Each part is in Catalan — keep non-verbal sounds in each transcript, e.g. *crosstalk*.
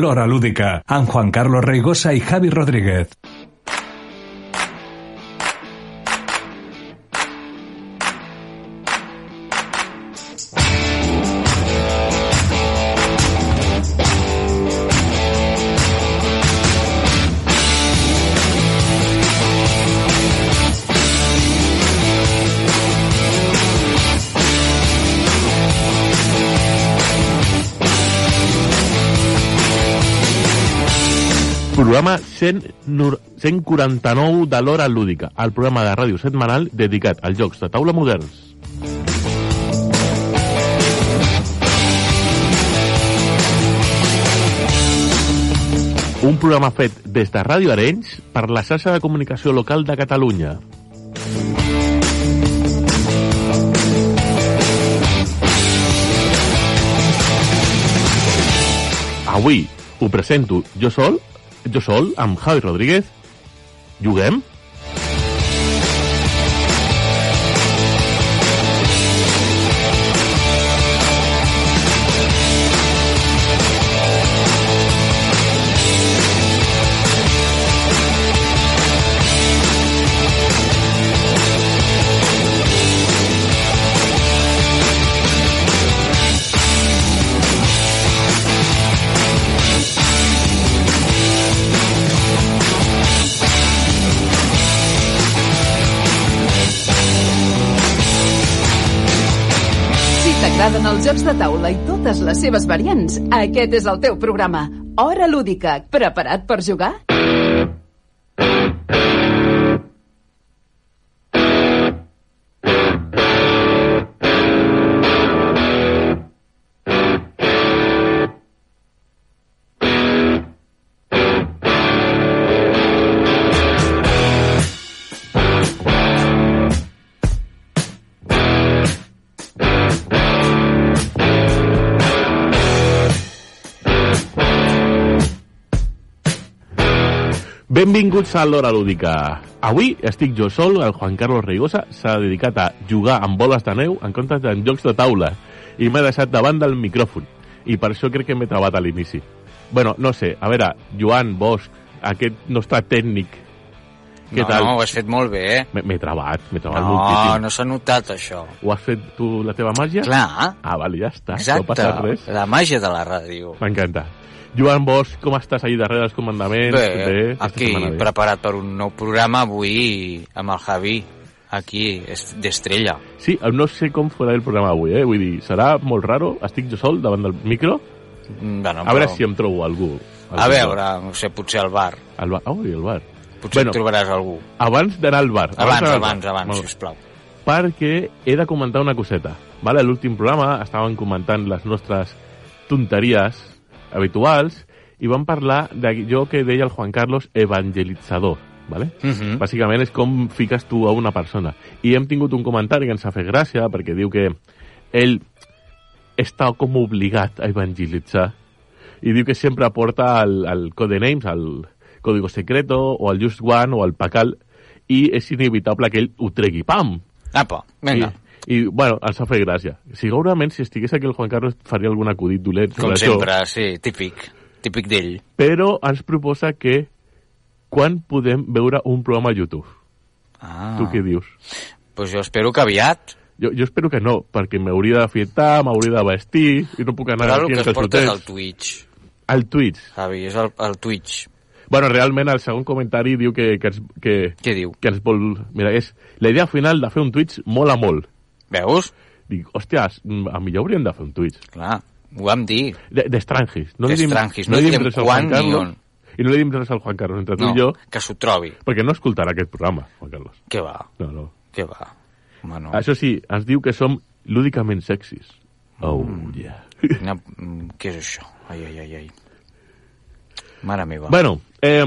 Lora Lúdica, amb Juan Carlos Reigosa y Javi Rodríguez. Programa 100 nur- 149 de l'Hora Lúdica, el programa de ràdio setmanal dedicat als jocs de taula moderns. Un programa fet des de Ràdio Arenys per la xarxa de comunicació local de Catalunya. Avui ho presento jo sol, jo sol, amb Javi Rodríguez. Juguem? Si t'agraden els jocs de taula i totes les seves variants, aquest és el teu programa. Hora lúdica. Preparat per jugar? Benvinguts a l'Hora Lúdica. Avui estic jo sol, el Juan Carlos Reigosa s'ha dedicat a jugar amb boles de neu en comptes de jocs de taula i m'ha deixat de banda el micròfon i per això crec que m'he trabat a l'inici. bueno, no sé, a veure, Joan Bosch, aquest nostre tècnic, què no, tal? No, ho has fet molt bé, eh? M'he- M'he trabat, m'he trabat No, moltíssim. no s'ha notat, això. Ho has fet tu la teva màgia? Clar, Ah, vale, ja està, no exacte. passa res. La màgia de la ràdio. M'encanta. Joan Bosch, com estàs ahir darrere dels comandaments? Bé, aquesta aquí, setmana preparat per un nou programa avui amb el Javi, aquí, est- d'estrella. Sí, no sé com farà el programa avui, eh? Vull dir, serà molt raro, estic jo sol davant del micro, Mm, Bueno, a veure però- si em trobo algú. A veure, no sé, potser al bar. Al bar. Oh, i al bar. Potser Bueno. bueno, trobaràs algú. Abans d'anar al bar. Abans, d'anar al abans, bar. abans, Molt bé. sisplau. Perquè he de comentar una coseta. Vale, a l'últim programa estaven comentant les nostres tonteries habituals i vam parlar d'allò que deia el Juan Carlos evangelitzador, vale? Mhm. Bàsicament és com fiques tu a una persona. I hem tingut un comentari que ens ha fet gràcia perquè diu que ell està com obligat a evangelitzar i diu que sempre porta el, el Codenames, el Código Secreto o el Just One o el Pacal i és inevitable que ell ho tregui, pam! Apa, vinga. I, i bueno, ens ha fet gràcia. Segurament, si estigués aquí el Juan Carlos, faria algun acudit dolent Com sobre això. sempre, sí, típic. Típic d'ell. Però ens proposa que quan podem veure un programa a YouTube? Ah, Ah. Tu què dius? pues jo espero que aviat. Jo, jo espero que no, perquè m'hauria de fiestar, m'hauria de vestir, i no puc anar Però aquí el que en es porta és el calçotets. Twitch, Al Twitch. Javi, és el, el Twitch. Bueno, realment, el segon comentari diu que, que, ens, que, Què diu? que ens vol... Mira, és la idea final de fer un Twitch mola molt. Veus? Dic, hòsties, mm, a millor hauríem de fer un Twitch. Clar, ho vam dir. De- D'estrangis. No li dim- D'estrangis, no diem res al quan Juan ni Carlos, on. I no li dim res al Juan Carlos, entre tu No, i jo, que s'ho trobi. perquè no escoltarà aquest programa, Juan Carlos. Què va? No, no. Què va? Home, no. Això sí, ens diu que som lúdicament sexis. Mm. Oh, yeah. *laughs* Quina... mm, Què és això? Ai, ai, ai, ai. Mare meva. Bueno, eh,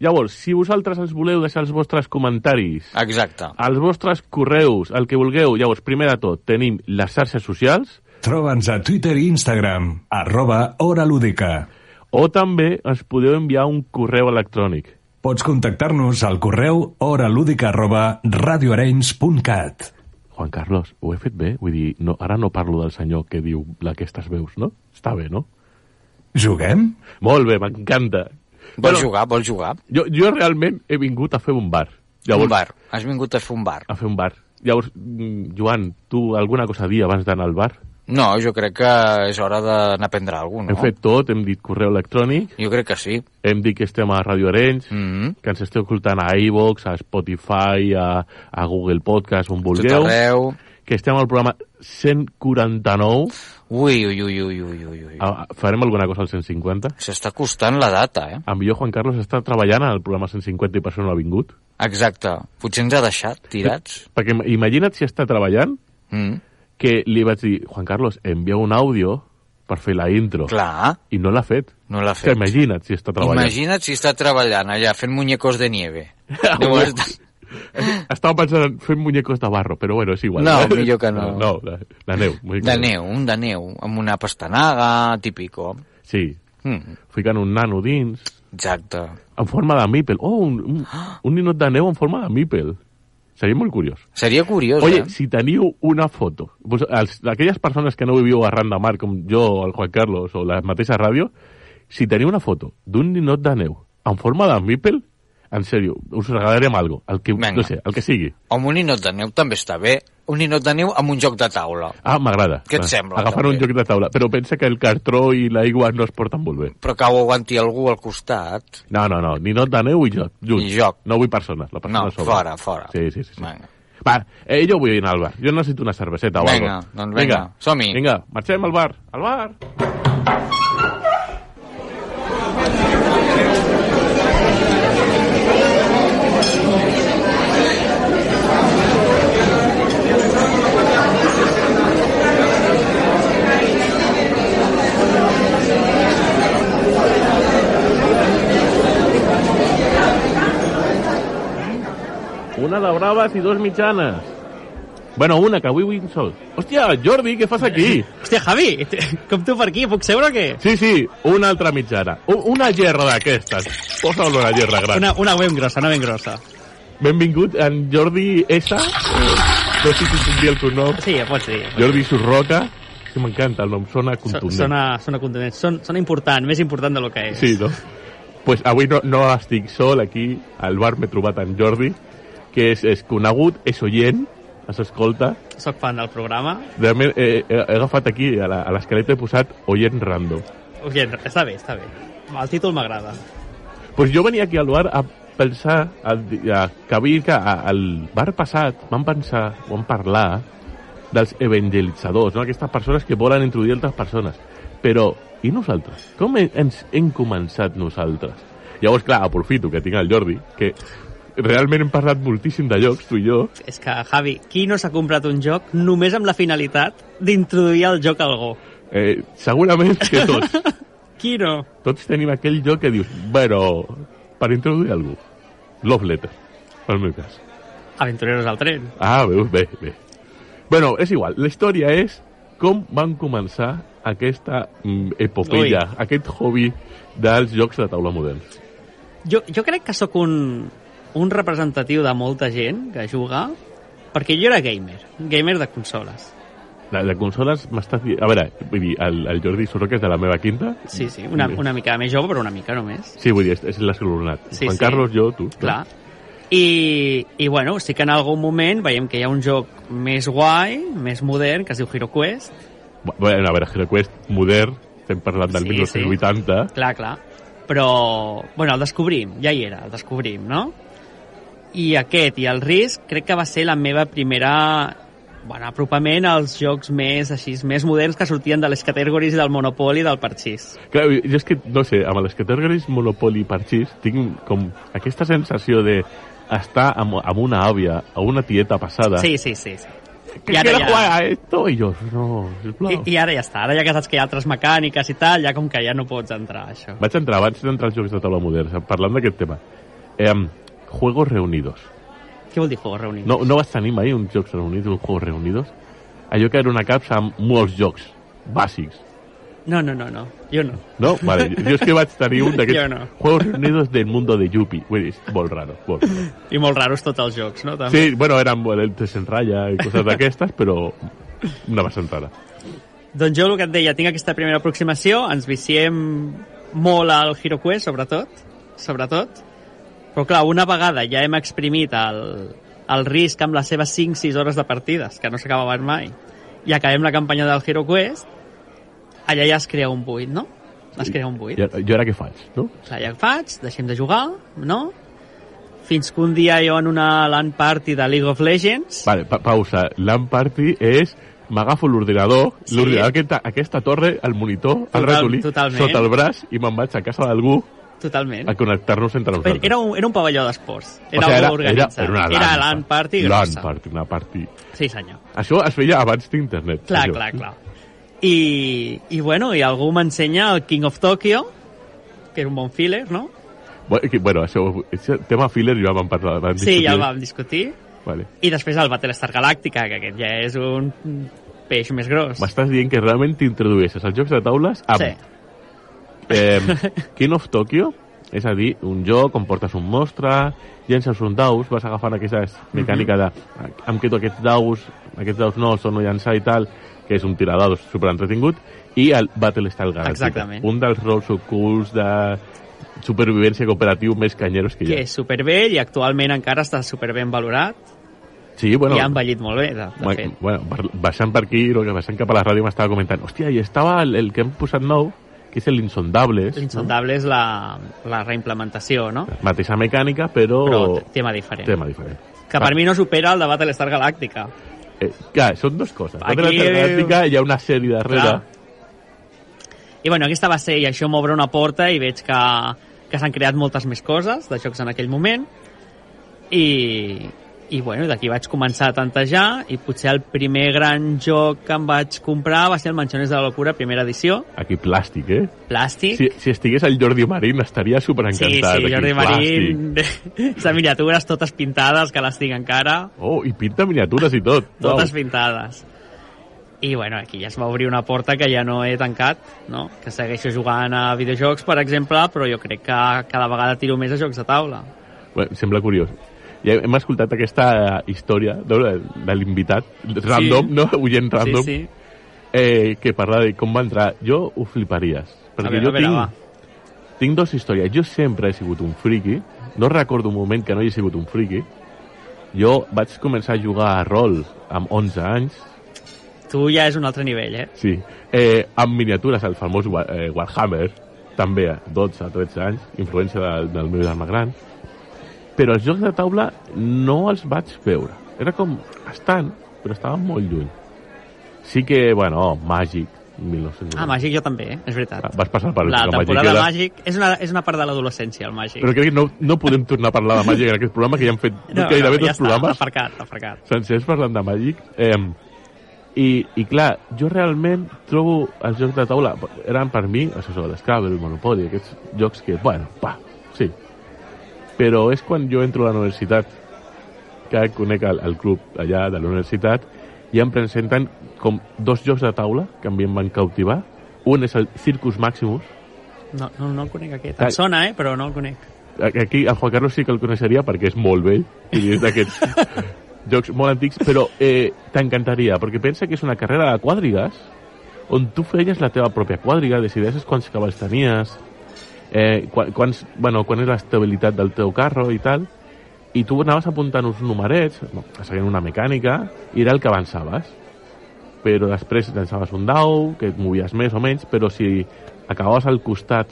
llavors, si vosaltres ens voleu deixar els vostres comentaris, Exacte. els vostres correus, el que vulgueu, llavors, primer de tot, tenim les xarxes socials, Troba'ns a Twitter i Instagram, arroba Hora Lúdica. o també ens podeu enviar un correu electrònic. Pots contactar-nos al correu horalúdica arroba radioarenys.cat. Juan Carlos, ho he fet bé? Vull dir, no, ara no parlo del senyor que diu aquestes veus, no? Està bé, no? Juguem? Molt bé, m'encanta. Vols jugar? Vols jugar? Jo, jo realment he vingut a fer un bar. Un bar. Has vingut a fer un bar. A fer un bar. Llavors, mm, Joan, tu alguna cosa a dir abans d'anar al bar? No, jo crec que és hora d'anar a prendre alguna Hem cosa, no? fet tot, hem dit correu electrònic, Jo crec que sí. hem dit que estem a Radio Arenys, Mm que ens esteu escoltant a iVox, a Spotify, a, a Google Podcast, on Tot vulgueu, arreu. que estem al programa 149, Ui, ui, ui, ui, ui, ui. ui. a, a- Ah, farem alguna cosa al 150. S'està costant la data, eh? En millor Juan Carlos està treballant al programa 150 i per això no ha vingut. Exacte. Potser ens ha deixat tirats. Perquè im- imagina't si està treballant, Mm. que li vaig dir, Juan Carlos, envia un àudio per fer la intro. Clar, I no l'ha fet. no l'ha Que fet. imagina't si està treballant. Imagina't si està treballant allà fent muñecos de nieve. Ah, *laughs* Deu estar... Estava pensant en fer muñecos de barro, però bueno, és igual. No, millor que no. No, la, la neu. muñecos De neu, un de neu, amb una pastanaga, típico. Sí, Mm. ficant un nano dins, Exacte. en forma de mípel. Oh, un, un, un ninot de neu en forma de mípel. Seria molt curiós. Seria curiós, Oye, eh? si teniu una foto, pues, els, aquelles persones que no viviu arran de mar, com jo, o el Juan Carlos, o la mateixa ràdio, si teniu una foto d'un ninot de neu en forma de mípel, en sèrio, us regalarem algo, el que, Venga. no sé, el que sigui. Amb un ninot de neu també està bé. Un ninot de neu amb un joc de taula. Ah, m'agrada. Què et Va, sembla, Agafar també? un joc de taula. Però pensa que el cartró i l'aigua no es porten molt bé. Però que ho aguanti algú al costat. No, no, no. Ni not de neu i joc. Junts. I joc. No vull persones. La persona No, sobre. fora, fora. Sí, sí, sí. sí. Vinga. Va, eh, jo vull anar al bar. Jo necessito una cerveseta o Vinga, algo. doncs vinga, som-hi. Vinga, marxem al bar. Al bar. Una de braves i dos mitjanes. Bueno, una, que avui vull sol. Hòstia, Jordi, què fas aquí? Hòstia, Javi, com tu per aquí, puc seure o què? Sí, sí, una altra mitjana. U- Una gerra d'aquestes. Posa-lo una gerra gran. Una, una ben grossa, una ben grossa. Benvingut en Jordi S. Eh, No sé si puc dir el cognom. Sí, ja pots dir. Jordi Surroca. Que m'encanta el nom, sona So- contundent. Sona, sona contundent. Són, sona important, més important del que és. Sí, no? pues avui no, no estic sol aquí, al bar m'he trobat en Jordi, que és, és conegut, és oient, ens escolta. Soc fan del programa. Realment eh, he, he agafat aquí, a la- a l'esqueleta he posat oient random. Oye, està bé, està bé. El títol m'agrada. pues jo venia aquí al bar a pensar, a, di- a, que havia que a- al bar passat vam pensar, vam parlar dels evangelitzadors, no? aquestes persones que volen introduir altres persones. Però, i nosaltres? Com he- ens hem començat nosaltres? Llavors, clar, aprofito que tinc el Jordi, que realment hem parlat moltíssim de llocs, tu i jo, És que, Javi, qui no s'ha comprat un joc només amb la finalitat d'introduir el joc a algú? eh, segurament que tots, Qui no? tots tenim aquell lloc que dius, bueno, per introduir algú, love letter, pel meu cas. Aventureros al tren. Ah, veus, bé, bé. Bueno, és igual. La història és com van començar aquesta mm, epopeia, Ui. aquest hobby dels jocs de taula moderns. Jo, jo crec que sóc un, un representatiu de molta gent que juga, perquè jo era gamer, gamer de consoles. De, de consoles m'estàs dient... A veure, vull dir, el, el Jordi Soroca és de la meva quinta. Sí, sí, una, una mica més jove, però una mica només. Sí, vull dir, és, és l'escalonat. Sí, Juan sí. Carlos, jo, tu. Clar. I, I, bueno, sí que en algun moment veiem que hi ha un joc més guai, més modern, que es diu HeroQuest. Bu- Bueno, a veure, HeroQuest modern, estem parlant del Sí, 1980. Clar, clar. Però, bueno, el descobrim, ja hi era, el descobrim, no? I aquest i el risc crec que va ser la meva primera bueno, apropament als jocs més, així, més moderns que sortien de les categories del Monopoli i del Parxís. Clar, jo és que, no sé, amb les categories Monopoly i Parxís tinc com aquesta sensació de estar amb, amb una àvia o una tieta passada Sí, sí, sí. sí. que I ara quiero ja- jugar a eh, esto. I jo, no, sisplau. I, I ara ja està, ara ja que saps que hi ha altres mecàniques i tal, ja com que ja no pots entrar, a això. Vaig entrar abans d'entrar als jocs de taula moderns, parlant d'aquest tema. Eh, juegos reunidos. Què vol dir juegos reunits? No, no vas tenir mai uns jocs reunits, uns juegos reunidos? Allò que era una capsa amb molts jocs bàsics. no, no, no, no. jo no. No? Vale, jo és que vaig tenir un d'aquests *laughs* Jo no. juegos reunidos del mundo de Yuppie. Vull dir, és molt raro, molt raro. I molt raros tots els jocs, no? També. *laughs* Sí, bueno, eren bueno, el tres en ratlla i coses d'aquestes, però una bastant rara. Doncs jo el que et deia, tinc aquesta primera aproximació, ens viciem molt al HeroQuest, sobretot, sobretot, però clar, una vegada ja hem exprimit el, el risc amb les seves 5-6 hores de partides, que no s'acabaven mai, i acabem la campanya del HeroQuest, allà ja es crea un buit, no? Es crea un buit. Jo, jo ara què faig, no? Clar, ja ho faig, deixem de jugar, no? Fins que un dia jo en una LAN party de League of Legends... Vale, pa pausa. LAN Party és m'agafo l'ordinador, Sí. l'ordinador aquesta, aquesta torre, el monitor, el Total- ratolí, totalment. sota el braç i me'n vaig a casa d'algú Totalment. a connectar-nos entre Era- nosaltres. Era un, era un pavelló d'esports. Era, o sigui, algo organitzat. Era, era una LAN, era LAN party grossa. LAN party, una party. Sí, senyor. Això es feia abans d'internet. Clar, això. clar, clar. I, I bueno, i algú m'ensenya el King of Tokyo, que era un bon filler, no? Bueno, que- Bueno, això, això tema filler ja vam parlar abans. Sí, ja el vam discutir. Vale. I després el Battlestar Galàctica, que aquest ja és un peix més gros. M'estàs dient que realment t'introdueixes als jocs de taules amb Sí, Eh, King of Tokyo, és a dir, un joc on portes un mostre, llences uns daus, vas agafant aquesta Mhm. mecànica de amb què tu aquests daus, aquests daus no, són no llançar i tal, que és un tiradaus superentretingut, i el Battlestar Galactica. Exactament. Un dels rols ocults de supervivència cooperatiu més canyeros que hi ha. que és supervell i actualment encara està superben valorat Sí, bueno, i ha envellit molt bé, de, de ma- fet. bueno, per- baixant per aquí, lo que baixant cap a la ràdio m'estava comentant, hòstia, i estava el, el que hem posat nou, que és l'Insondables. L'insondable és la, la reimplementació, no? Mateixa mecànica, però... Però tema diferent. Oh, Tema diferent. Que per mi no supera el de Battlestar Galàctica. Eh, clar, són dues coses. Aquí- Aquí... Galàctica hi ha una sèrie darrere. Clar. I bueno, aquesta va ser, i això m'obre una porta i veig que, que s'han creat moltes més coses de jocs en aquell moment. I, i bueno, d'aquí vaig començar a tantejar i potser el primer gran joc que em vaig comprar va ser el Manchones de la Locura, primera edició, Aquí plàstic, eh? plàstic. Si, si estigués el Jordi Marín estaria sí, superencantat. sí Aquí, Jordi plàstic. Marín, *laughs* les miniatures totes pintades, que les tinc encara. Oh, i pinta miniatures i tot. totes Uau. pintades. I bueno, aquí ja es va obrir una porta que ja no he tancat, no? que segueixo jugant a videojocs, per exemple, però jo crec que cada vegada tiro més a jocs de taula. Bueno, sembla curiós. Ja hem escoltat aquesta història no, de, de l'invitat, random, no? Oient random, Sí, sí. Eh, que parla de com va entrar. Jo ho fliparies. Perquè veure, jo a veure, tinc, va. tinc dos històries. Jo sempre he sigut un friki. No recordo un moment que no hagi sigut un friki. Jo vaig començar a jugar a rol amb 11 anys. Tu ja és un altre nivell, eh? Sí. Eh, amb miniatures, el famós Wa- eh, Warhammer, també a 12, 13 anys, influència del, del meu germà gran. Però els jocs de taula no els vaig veure. Era com, estan, però estaven molt lluny. Sí que, bueno, Magic, 1990. Ah, Màgic jo també, eh? és veritat. Ah, Vas passar per la època temporada magiquera. Màgic és una, és una part de l'adolescència, el Màgic. Però crec que no, no podem tornar a parlar de Magic en aquest programa, que ja hem fet no, gairebé ja dos està, programes aparcat, aparcat. sencers parlant de Magic. Eh, i, I clar, jo realment trobo els jocs de taula, eren per mi, això és l'Scrabble, el Monopoli, aquests jocs que, bueno, pa, sí. Però és quan jo entro a la universitat, que conec el, el club allà de la universitat, i em presenten com dos jocs de taula que a mi em van cautivar. Un és el Circus Maximus, No, no, no el conec aquest. Clar. Em sona, eh? però no el conec. aquí el Juan Carlos sí que el coneixeria perquè és molt vell i és d'aquests jocs molt antics, però eh, t'encantaria, perquè pensa que és una carrera de quadrigues on tu feies la teva pròpia quadriga, decideixes quants cavalls tenies, eh, quan, quants, bueno, quan és l'estabilitat del teu carro i tal, i tu anaves apuntant uns numerets, no, seguint una mecànica, i era el que avançaves. Però després llançaves un dau, que et movies més o menys, però si acabaves al costat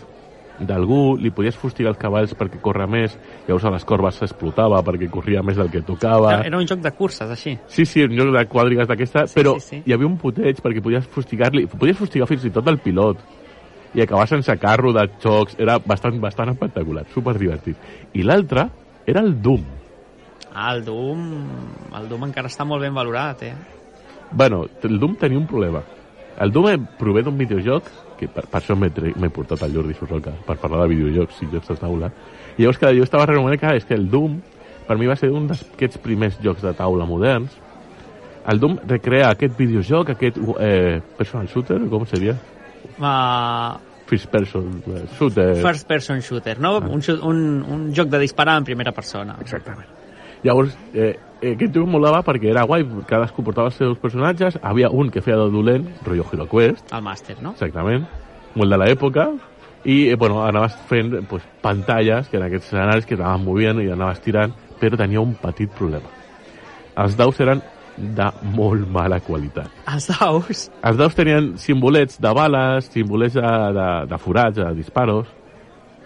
d'algú, li podies fustigar els cavalls perquè corre més, llavors a les corbes s'explotava perquè corria més del que tocava. Era un joc de curses, així. Sí, sí, un lloc de quadrigues d'aquesta, Sí, sí, però sí, sí, sí. sí. hi havia un puteig perquè podies fustigar-li, podies fustigar fins i tot el pilot i acabar sense carro de xocs, era bastant, bastant espectacular, superdivertit. I l'altre era el Doom. Ah, el Doom... El Doom encara està molt ben valorat, eh? Bueno, el Doom tenia un problema. El Doom em prové d'un videojoc, que per, per això m'he tre- m'he portat al Jordi Sorroca, per parlar de videojocs i jocs de taula. I llavors, clar, jo estava recomanant que és que el Doom, per mi va ser un d'aquests primers jocs de taula moderns. El Doom recrea aquest videojoc, aquest eh, personal shooter, com seria? Uh, First person eh, shooter. First person shooter, no? Un, xu- un, un joc de disparar en primera persona. Exactament. Llavors, eh, eh, aquest joc molava perquè era guai, cadascú portava els seus personatges, havia un que feia de dolent, rotllo Hero Quest, El màster, no? exactament, molt de l'època, i eh, bueno, anaves fent eh, pues, pantalles, que en aquests escenaris que t'anaves movent i anaves tirant, però tenia un petit problema. Els daus eren de molt mala qualitat. Els daus. Els daus tenien simbolets de bales, simbolets de, de, de forats, de disparos,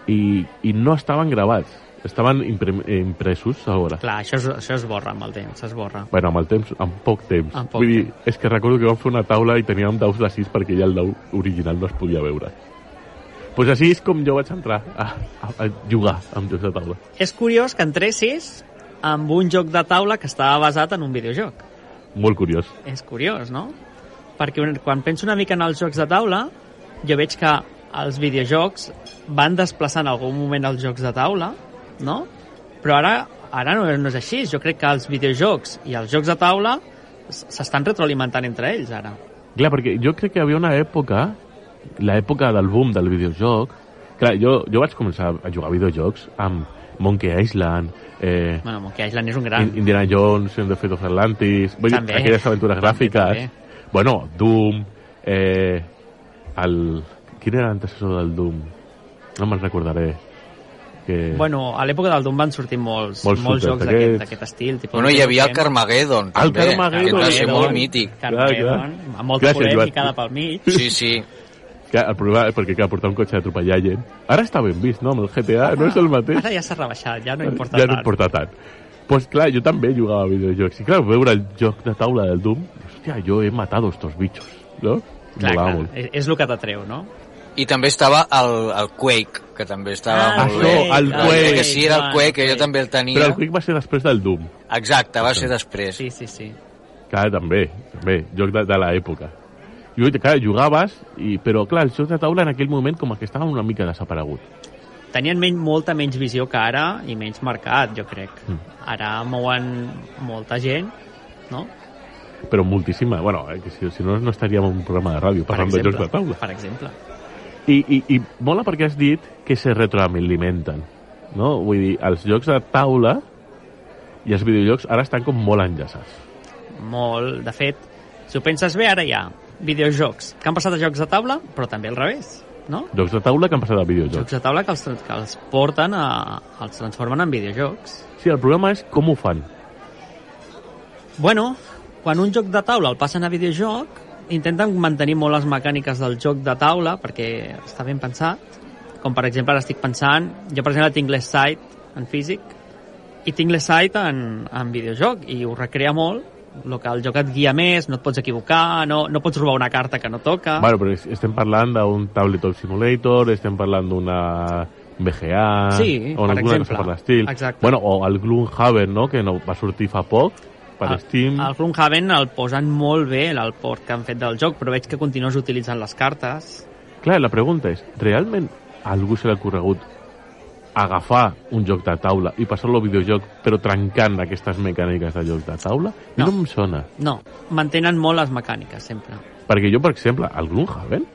i, i no estaven gravats. Estaven imprim, eh, impresos a veure. Clar, això, es- això es borra amb el temps, s'esborra. Bueno, amb el temps, amb poc temps. Amb poc Vull dir, és que recordo que vam fer una taula i teníem daus de 6 perquè ja el dau original no es podia veure. Doncs pues així és com jo vaig entrar a, a, a jugar amb jocs de taula. És curiós que entressis amb un joc de taula que estava basat en un videojoc. Molt curiós. És curiós, no? Perquè un- quan penso una mica en els jocs de taula, jo veig que els videojocs van desplaçar en algun moment els jocs de taula, no? Però ara ara no, no és així. Jo crec que els videojocs i els jocs de taula s- s'estan retroalimentant entre ells, ara. Clar, perquè jo crec que hi havia una època, l'època del boom del videojoc, clar, jo, jo vaig començar a jugar a videojocs amb Monkey Island, eh, Bueno, Monkey Island és un gran... In- Indiana Jones, and the Fate of Atlantis, vull dir, També. aquelles aventures També, gràfiques, també. bueno, Doom, eh, el... Quin era l'antecessor del Doom? No me'n recordaré. Que... Bueno, a l'època del Doom van sortir Molts molts, molts, molts shooters jocs d'aquest d'aquests. d'aquest estil. Tipus Bueno, hi havia el Carmageddon, també, Carmageddon, que va ser Carmageddon. molt mític. Carmageddon, Clar, clar. amb molta Gràcies, Joan. polèmica de pel mig. Sí, sí. que el problema és perquè clar, portar un cotxe a atropellar gent. Ara està ben vist, no? Amb el GTA no és el *laughs* mateix. Ara ja s'ha rebaixat, ja no importa ja tant. no importa tant. Pues clar, jo també jugava a videojocs. I clar, veure el joc de taula del Doom, hòstia, jo he matado estos bichos, no? Clar, Molava clar, molt. és, és el que t'atreu, no? I també estava el, el Quake, que també estava Ah, molt bé. això, el Jo crec Quake. Que sí, era el Ah, Quake, que jo Quake. també el tenia. Però el Quick va ser després del Doom. Exacte, va ser després. Sí, sí, sí. Clar, també, també, joc de, de l'època. I clar, jugaves, i, però clar, el joc de taula en aquell moment com que estava una mica desaparegut. Tenien men molta menys visió que ara i menys mercat, jo crec. Mm. Ara mouen molta gent, no? Però moltíssima, bueno, eh, que si, si no, no estaríem en un programa de ràdio parlant de jocs de taula. Per exemple. I, i, i mola perquè has dit que se retroalimenten, no? Vull dir, els jocs de taula i els videojocs ara estan com molt enllaçats. Molt. De fet, si ho penses bé, ara hi ha videojocs que han passat a jocs de taula, però també al revés, no? Jocs de taula que han passat a videojocs. Jocs de taula que els, tran- que els porten, a, els transformen en videojocs. Sí, el problema és com ho fan. Bueno, quan un joc de taula el passen a videojoc, intenten mantenir molt les mecàniques del joc de taula, perquè està ben pensat. Com, per exemple, ara estic pensant... Jo, per exemple, tinc les Sight en físic i tinc les Sight en, en videojoc, i ho recrea molt, el que el joc et guia més, no et pots equivocar, no, no pots robar una carta que no toca... Bueno, però es- estem parlant d'un tabletop simulator, estem parlant d'una BGA... Sí, o per alguna exemple. Cosa per l'estil. Exacte. Bueno, o el Gloomhaven, no?, que no, va sortir fa poc per El- Steam. El Gloomhaven el posen molt bé, el port que han fet del joc, però veig que continues utilitzant les cartes. Clar, la pregunta és, realment a algú se l'ha corregut agafar un joc de taula i passar-lo a videojoc però trencant aquestes mecàniques de joc de taula? No. No. no em sona. No, mantenen molt les mecàniques, sempre. Perquè jo, per exemple, al Gloomhaven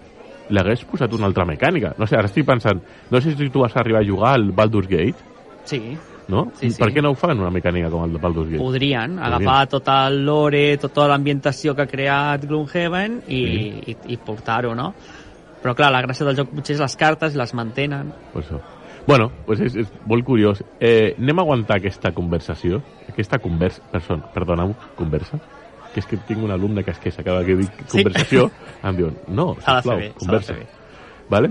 l'hagués posat una altra mecànica. No sé, ara estic pensant, no sé si tu vas arribar a jugar al Baldur's Gate, Sí, no? Sí, sí. Per què no ho fan una mecànica com el de Baldur's Gate? podrien agafar tot el lore, tota l'ambientació que ha creat Gloomhaven i, i, i portar-ho, no? Però clar, la gràcia del joc potser és les cartes, les mantenen. Pues això. Bueno, pues és, és molt curiós. Eh, anem a aguantar aquesta conversació, aquesta conversa, person, perdoneu, conversa, que és que tinc un alumne que es queixa cada que dic Sí. conversació, *laughs* em diuen, no, S'ha de fer sisplau, bé, s'ha de conversa. fer bé. Vale?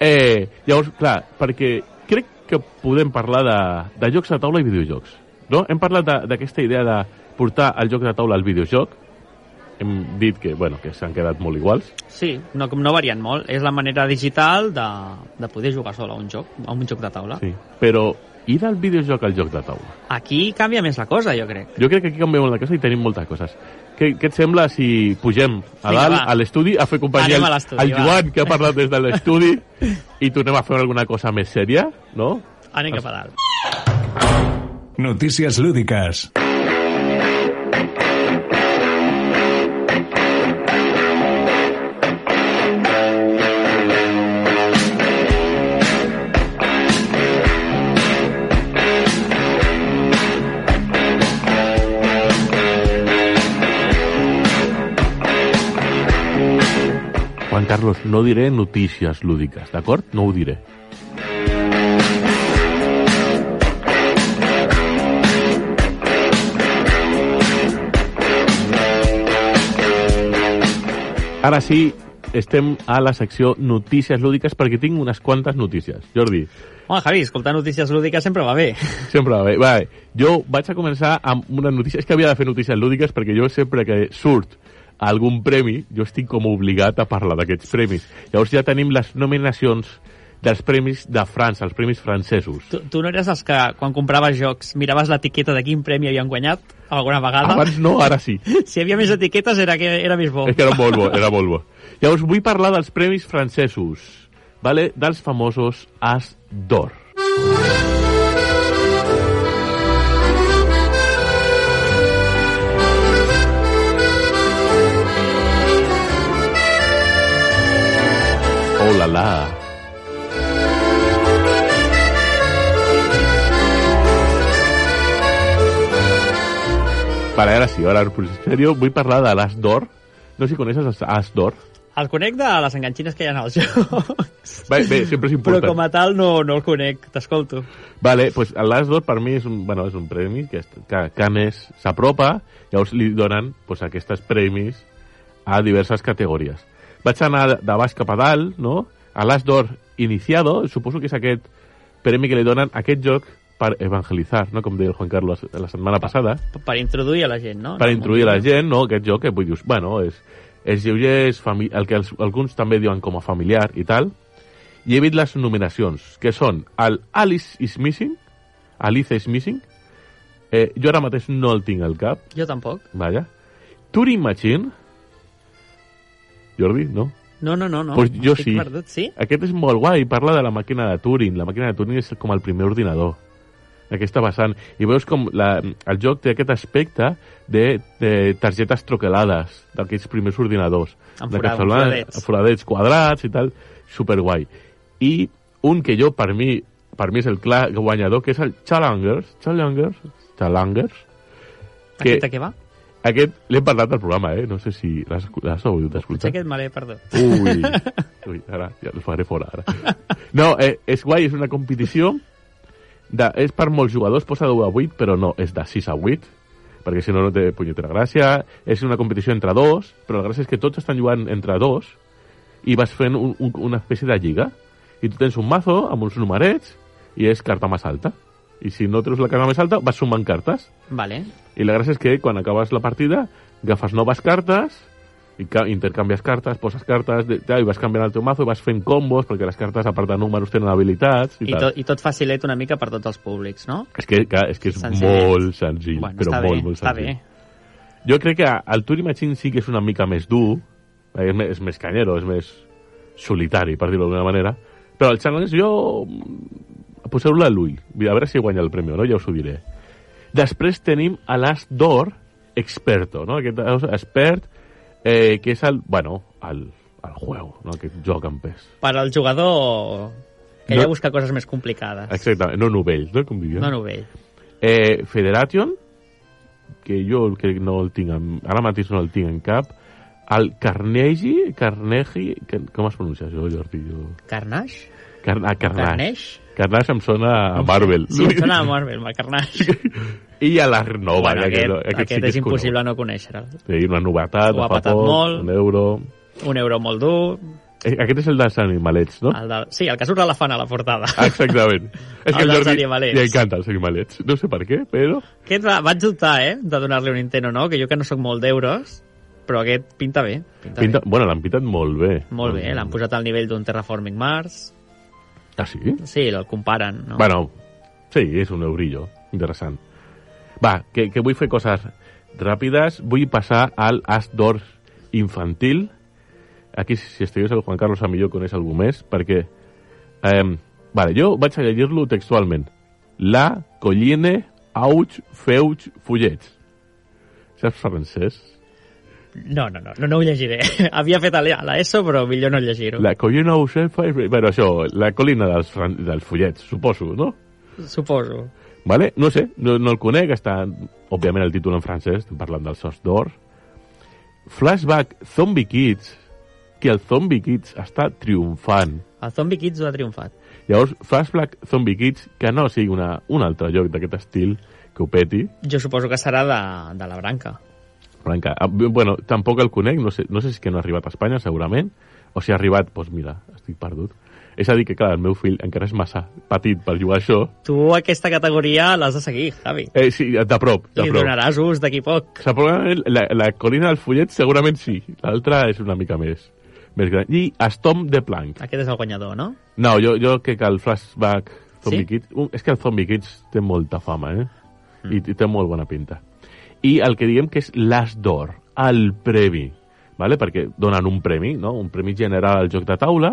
Eh, llavors, clar, perquè crec que podem parlar de, de jocs de taula i videojocs. No? Hem parlat de- d'aquesta idea de portar el joc de taula al videojoc, hem dit que, bueno, que s'han quedat molt iguals, Sí, no, com no varien molt. És la manera digital de, de poder jugar sol a un joc, a un joc de taula. sí. però ir del videojoc al joc de taula. Aquí canvia més la cosa, jo crec. Jo crec que aquí canviem molt de casa i tenim moltes coses. Què, què et sembla si pugem a Vinga, dalt, va. a l'estudi, a fer companyia Anem al, a l'estudi, al va. Joan, que ha parlat des de l'estudi, i tornem a fer alguna cosa més sèria, no? Anem cap a dalt. Noticias lúdicas. Carlos, no diré notícies lúdiques, d'acord? No ho diré. Ara sí, estem a la secció notícies lúdiques perquè tinc unes quantes notícies. Jordi, Home, Javi, escoltar notícies lúdiques sempre va bé. Sempre bé. Vale. Jo vaig a començar amb una notícia. És que havia de fer notícies lúdiques perquè jo sempre que surt algun premi, jo estic com obligat a parlar d'aquests premis. Llavors ja tenim les nominacions dels premis de França, els premis francesos. Tu, tu no eres dels que, quan compraves jocs, miraves l'etiqueta de quin premi havien guanyat alguna vegada? Abans no, ara sí. Si hi havia més etiquetes era, que era més *laughs* bo. És que era molt bo, era molt bo. Llavors vull parlar dels premis francesos, vale? dels famosos As d'Or. Oh la la. Vale, ara sí, ara en serio vull parlar de l'As d'Or. No sé si coneixes els As d'Or. El conec de les enganxines que hi ha al joc, Bé, bé, sempre és però important. com a tal no, no el conec, t'escolto. Vale, pues l'As d'Or per mi és un, bueno, és un premi que, est- que, que a més s'apropa, llavors li donen pues, aquestes premis a diverses categories. Vaig anar de baix cap a dalt, no? A l'As d'Or iniciado, suposo que és aquest premi que li donen a aquest joc per evangelitzar, no? com deia el Juan Carlos la setmana passada, P- Per introduir a la gent, no? per introduir la gent, no? aquest joc que vull dir, bueno, és, és lleuger, és fami- el que els, alguns també diuen com a familiar i tal, i he vist les nominacions, que són el Alice is Missing, Alice is Missing, eh, jo ara mateix no el tinc al cap, Jo tampoc. vaja, Turing Machine, Jordi, no? No, no, no. no. Pues jo Estic sí. Perdut, sí? Aquest és molt guai, parla de la màquina de Turing. La màquina de Turing és com el primer ordinador. Aquesta vessant. I veus com la, el joc té aquest aspecte de, de targetes troquelades d'aquests primers ordinadors. Amb De que forada- amb semblaven foradets. Foradets quadrats i tal. Superguai. I un que jo, per mi, per mi és el clar guanyador, que és el Challengers. Challengers? Challengers? Que... Aquest de què va? Aquest l'he parlat al programa, eh? No sé si l'has l'has hagut Potser d'escoltar. aquest me l'he perdut. *laughs* Ui, ui ara, ja el faré fora, ara. No, eh, és guai, és una competició, de, és per molts jugadors, posa 10 a 8, però no, és de 6 a 8, perquè si no no té punyetera gràcia, és una competició entre dos, però la gràcia és que tots estan jugant entre dos, i vas fent un, un, una espècie de lliga, i tu tens un mazo amb uns numerets, i és carta més alta. I si no treus la carta més alta, vas sumant cartes. Vale. I la gràcia és que quan acabes la partida agafes noves cartes i ca- intercanvies cartes, poses cartes de, ja, i vas canviant el teu mazo i vas fent combos perquè les cartes, a part de números, tenen habilitats i, I, tal. tot, I tot facilet una mica per tots els públics, no? És que, clar, és, que és Senzill. molt senzill, bueno, però està molt, bé, molt està senzill. bé. Jo crec que el Turing Machine sí que és una mica més dur, perquè és, més, és més canyero, és més solitari, per dir-ho d'alguna manera, però el Challenge jo... mm, Poseu-lo a l'ull, a veure si guanya el premi o no, ja us ho diré. Després tenim a l'As d'Or Experto, no? Aquest as expert, eh, que és el... Bueno, el, el juego, no? aquest joc amb pes. Per al jugador que No. no. ja busca coses més complicades. Exactament, no novell, no? Com diria. No novell. Eh, Federation, que jo el que no el tinc, en, ara mateix no el tinc en cap, el Carnegie, Carnegie, que, com es pronuncia això, Jordi? Jo... Carnage? Car a Carnage. Carnage? Carnage em sona a Marvel. Sí, em sona a Marvel, el Carnage. *laughs* I a l'Arnova, ja Oh, bueno, que aquest, no- aquest, sí que és impossible conegut. no conèixer-lo. Sí, una novetat, Ho ha de fa patat poc, molt. un euro... Un euro molt dur. Eh, Aquest és el dels animalets, no? Ah, El de... Sí, el que surt l'elefant a la portada. Exactament. és que El al dels Jordi animalets. li encanta els animalets. No sé per què, però... *laughs* Aquest va, vaig dubtar, eh, de donar-li un intent o no, que jo que no sóc molt d'euros, però aquest pinta bé. Pinta, Pinta... Bueno, l'han pintat molt bé. bé. Molt bé, eh, l'han posat al nivell d'un Terraforming Mars. Ah, sí? Sí, el comparen, no? Bueno, sí, és un eurillo. Interessant. Va, que, que vull fer coses ràpides. Vull passar al As d'Or infantil. Aquí, si estigués el Juan Carlos, a millor coneix algú més, perquè... Eh, vale, jo vaig a llegir-lo textualment. La, colline, auge, feuge, fullets. Saps francès? No, no, no, no, no ho llegiré. *laughs* Havia fet a l'ESO, però millor no llegir-ho. La colline, auge, feuge... Bueno, això, la colina dels, fran- dels fullets, suposo, no? Suposo. Vale? No sé, no, no el conec, està, òbviament, el títol en francès, estem parlant del Sos d'Or. Flashback Zombie Kids, que el Zombie Kids està triomfant. El Zombie Kids ho ha triomfat. Llavors, Flashback Zombie Kids, que no sigui una, un altre joc d'aquest estil que ho peti, Jo suposo que serà de, de la branca. Branca. Ah, bé, Bueno, tampoc el conec, no sé, no sé si és que no ha arribat a Espanya, segurament, o si ha arribat, doncs mira, estic perdut. És a dir que, clar, el meu fill encara és massa petit per jugar a això. Tu aquesta categoria l'has de seguir, Javi. Eh, sí, de prop, de Li prop. donaràs ús d'aquí poc. Segurament la, la colina del fullet segurament sí, l'altra és una mica més, més gran. I Estom de Plank. Aquest és el guanyador, no? No, jo, jo crec que el flashback Zombie Sí? Kids... un- És que el Zombie Kids té molta fama, eh? I, I té molt bona pinta. I el que diem que és l'as d'or, el premi, ¿vale? perquè donen un premi, no? un premi general al joc de taula,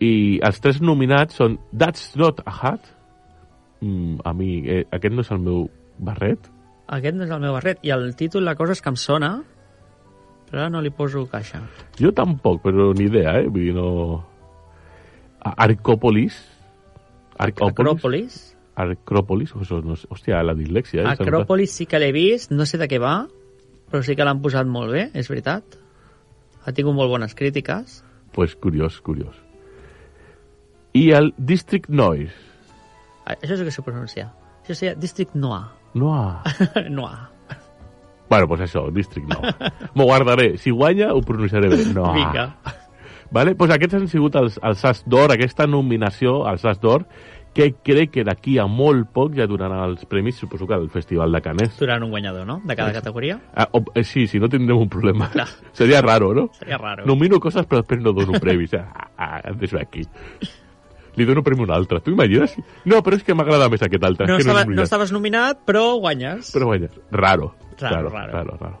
i els tres nominats són That's Not a Hat, mm, a mi, eh, aquest no és el meu barret, Aquest no és el meu barret. I el títol, la cosa és que em sona, però ara no li poso caixa. jo tampoc, però ni idea, eh? Vull dir, no... A- Arcòpolis, Arcòpolis, Acròpolis. Acròpolis, o això no sé, hòstia, la dislexia. Eh? Acròpolis sí que l'he vist, no sé de què va, però sí que l'han posat molt bé, és veritat. Ha tingut molt bones crítiques. Sembla- Pues curiós, curiós. I el District Noise. Ah, Això és el que sé pronunciar. Això seria District Noir. *laughs* No ha... Noir. bueno, pues això, District Noise. M'ho guardaré. Si guanya, ho pronunciaré bé. No ha. Vinga. Vale? Pues aquests han sigut els, els As d'Or, aquesta nominació als As d'Or, que crec que d'aquí a molt poc ja donaran els premis, suposo que al Festival de Canes. Durant un guanyador, no?, de cada categoria. Ah, o, eh, sí, sí, no tindrem un problema. *laughs* Clar. Seria raro, no? Seria raro. Nomino coses però després no dono premis. Ah, *laughs* ah, em deixo aquí. Li dono premi a un altre. Tu imagines? No, però és que m'agrada més aquest altre. No, és que estava, no, no no estaves nominat, però guanyes. Però vaja, raro. Raro, raro. raro, raro.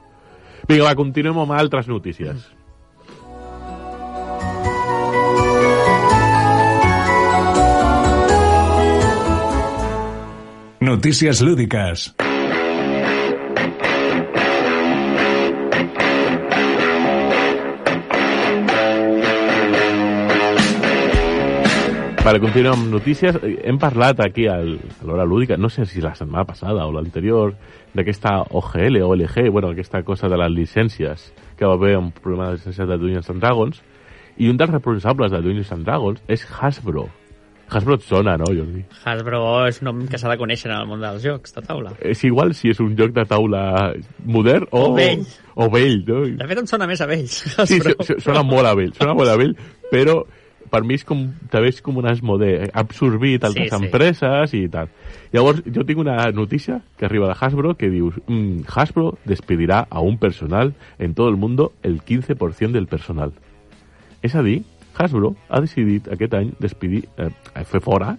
Vinga, va, continuem amb altres notícies. Noticias lúdicas. Vale, continuem amb notícies. Eh, Hem parlat aquí al, a l'hora lúdica, no sé si la setmana passada o l'anterior, d'aquesta OGL o LG, bueno, aquesta cosa de les llicències, que va haver un problema de llicències de Dungeons and Dragons, i un dels responsables de Dungeons and Dragons és Hasbro. Hasbro et sona, no, Jordi? Hasbro és un nom que s'ha de conèixer en el món dels jocs, de taula. És igual si és un joc de taula modern o... O vell. O vell, no? De fet, em sona més a vells. Sí, Hasbro. su- su- sona molt a vell, sona molt a vell, però per mi és com, també és com un esmodé, ha absorbit altres Sí, sí. empreses i tal. Llavors, jo tinc una notícia que arriba de Hasbro que dius, mm, Hasbro despedirà a un personal en tot el món el 15% del personal. És a dir, Hasbro ha decidit aquest any despedir, eh, fer fora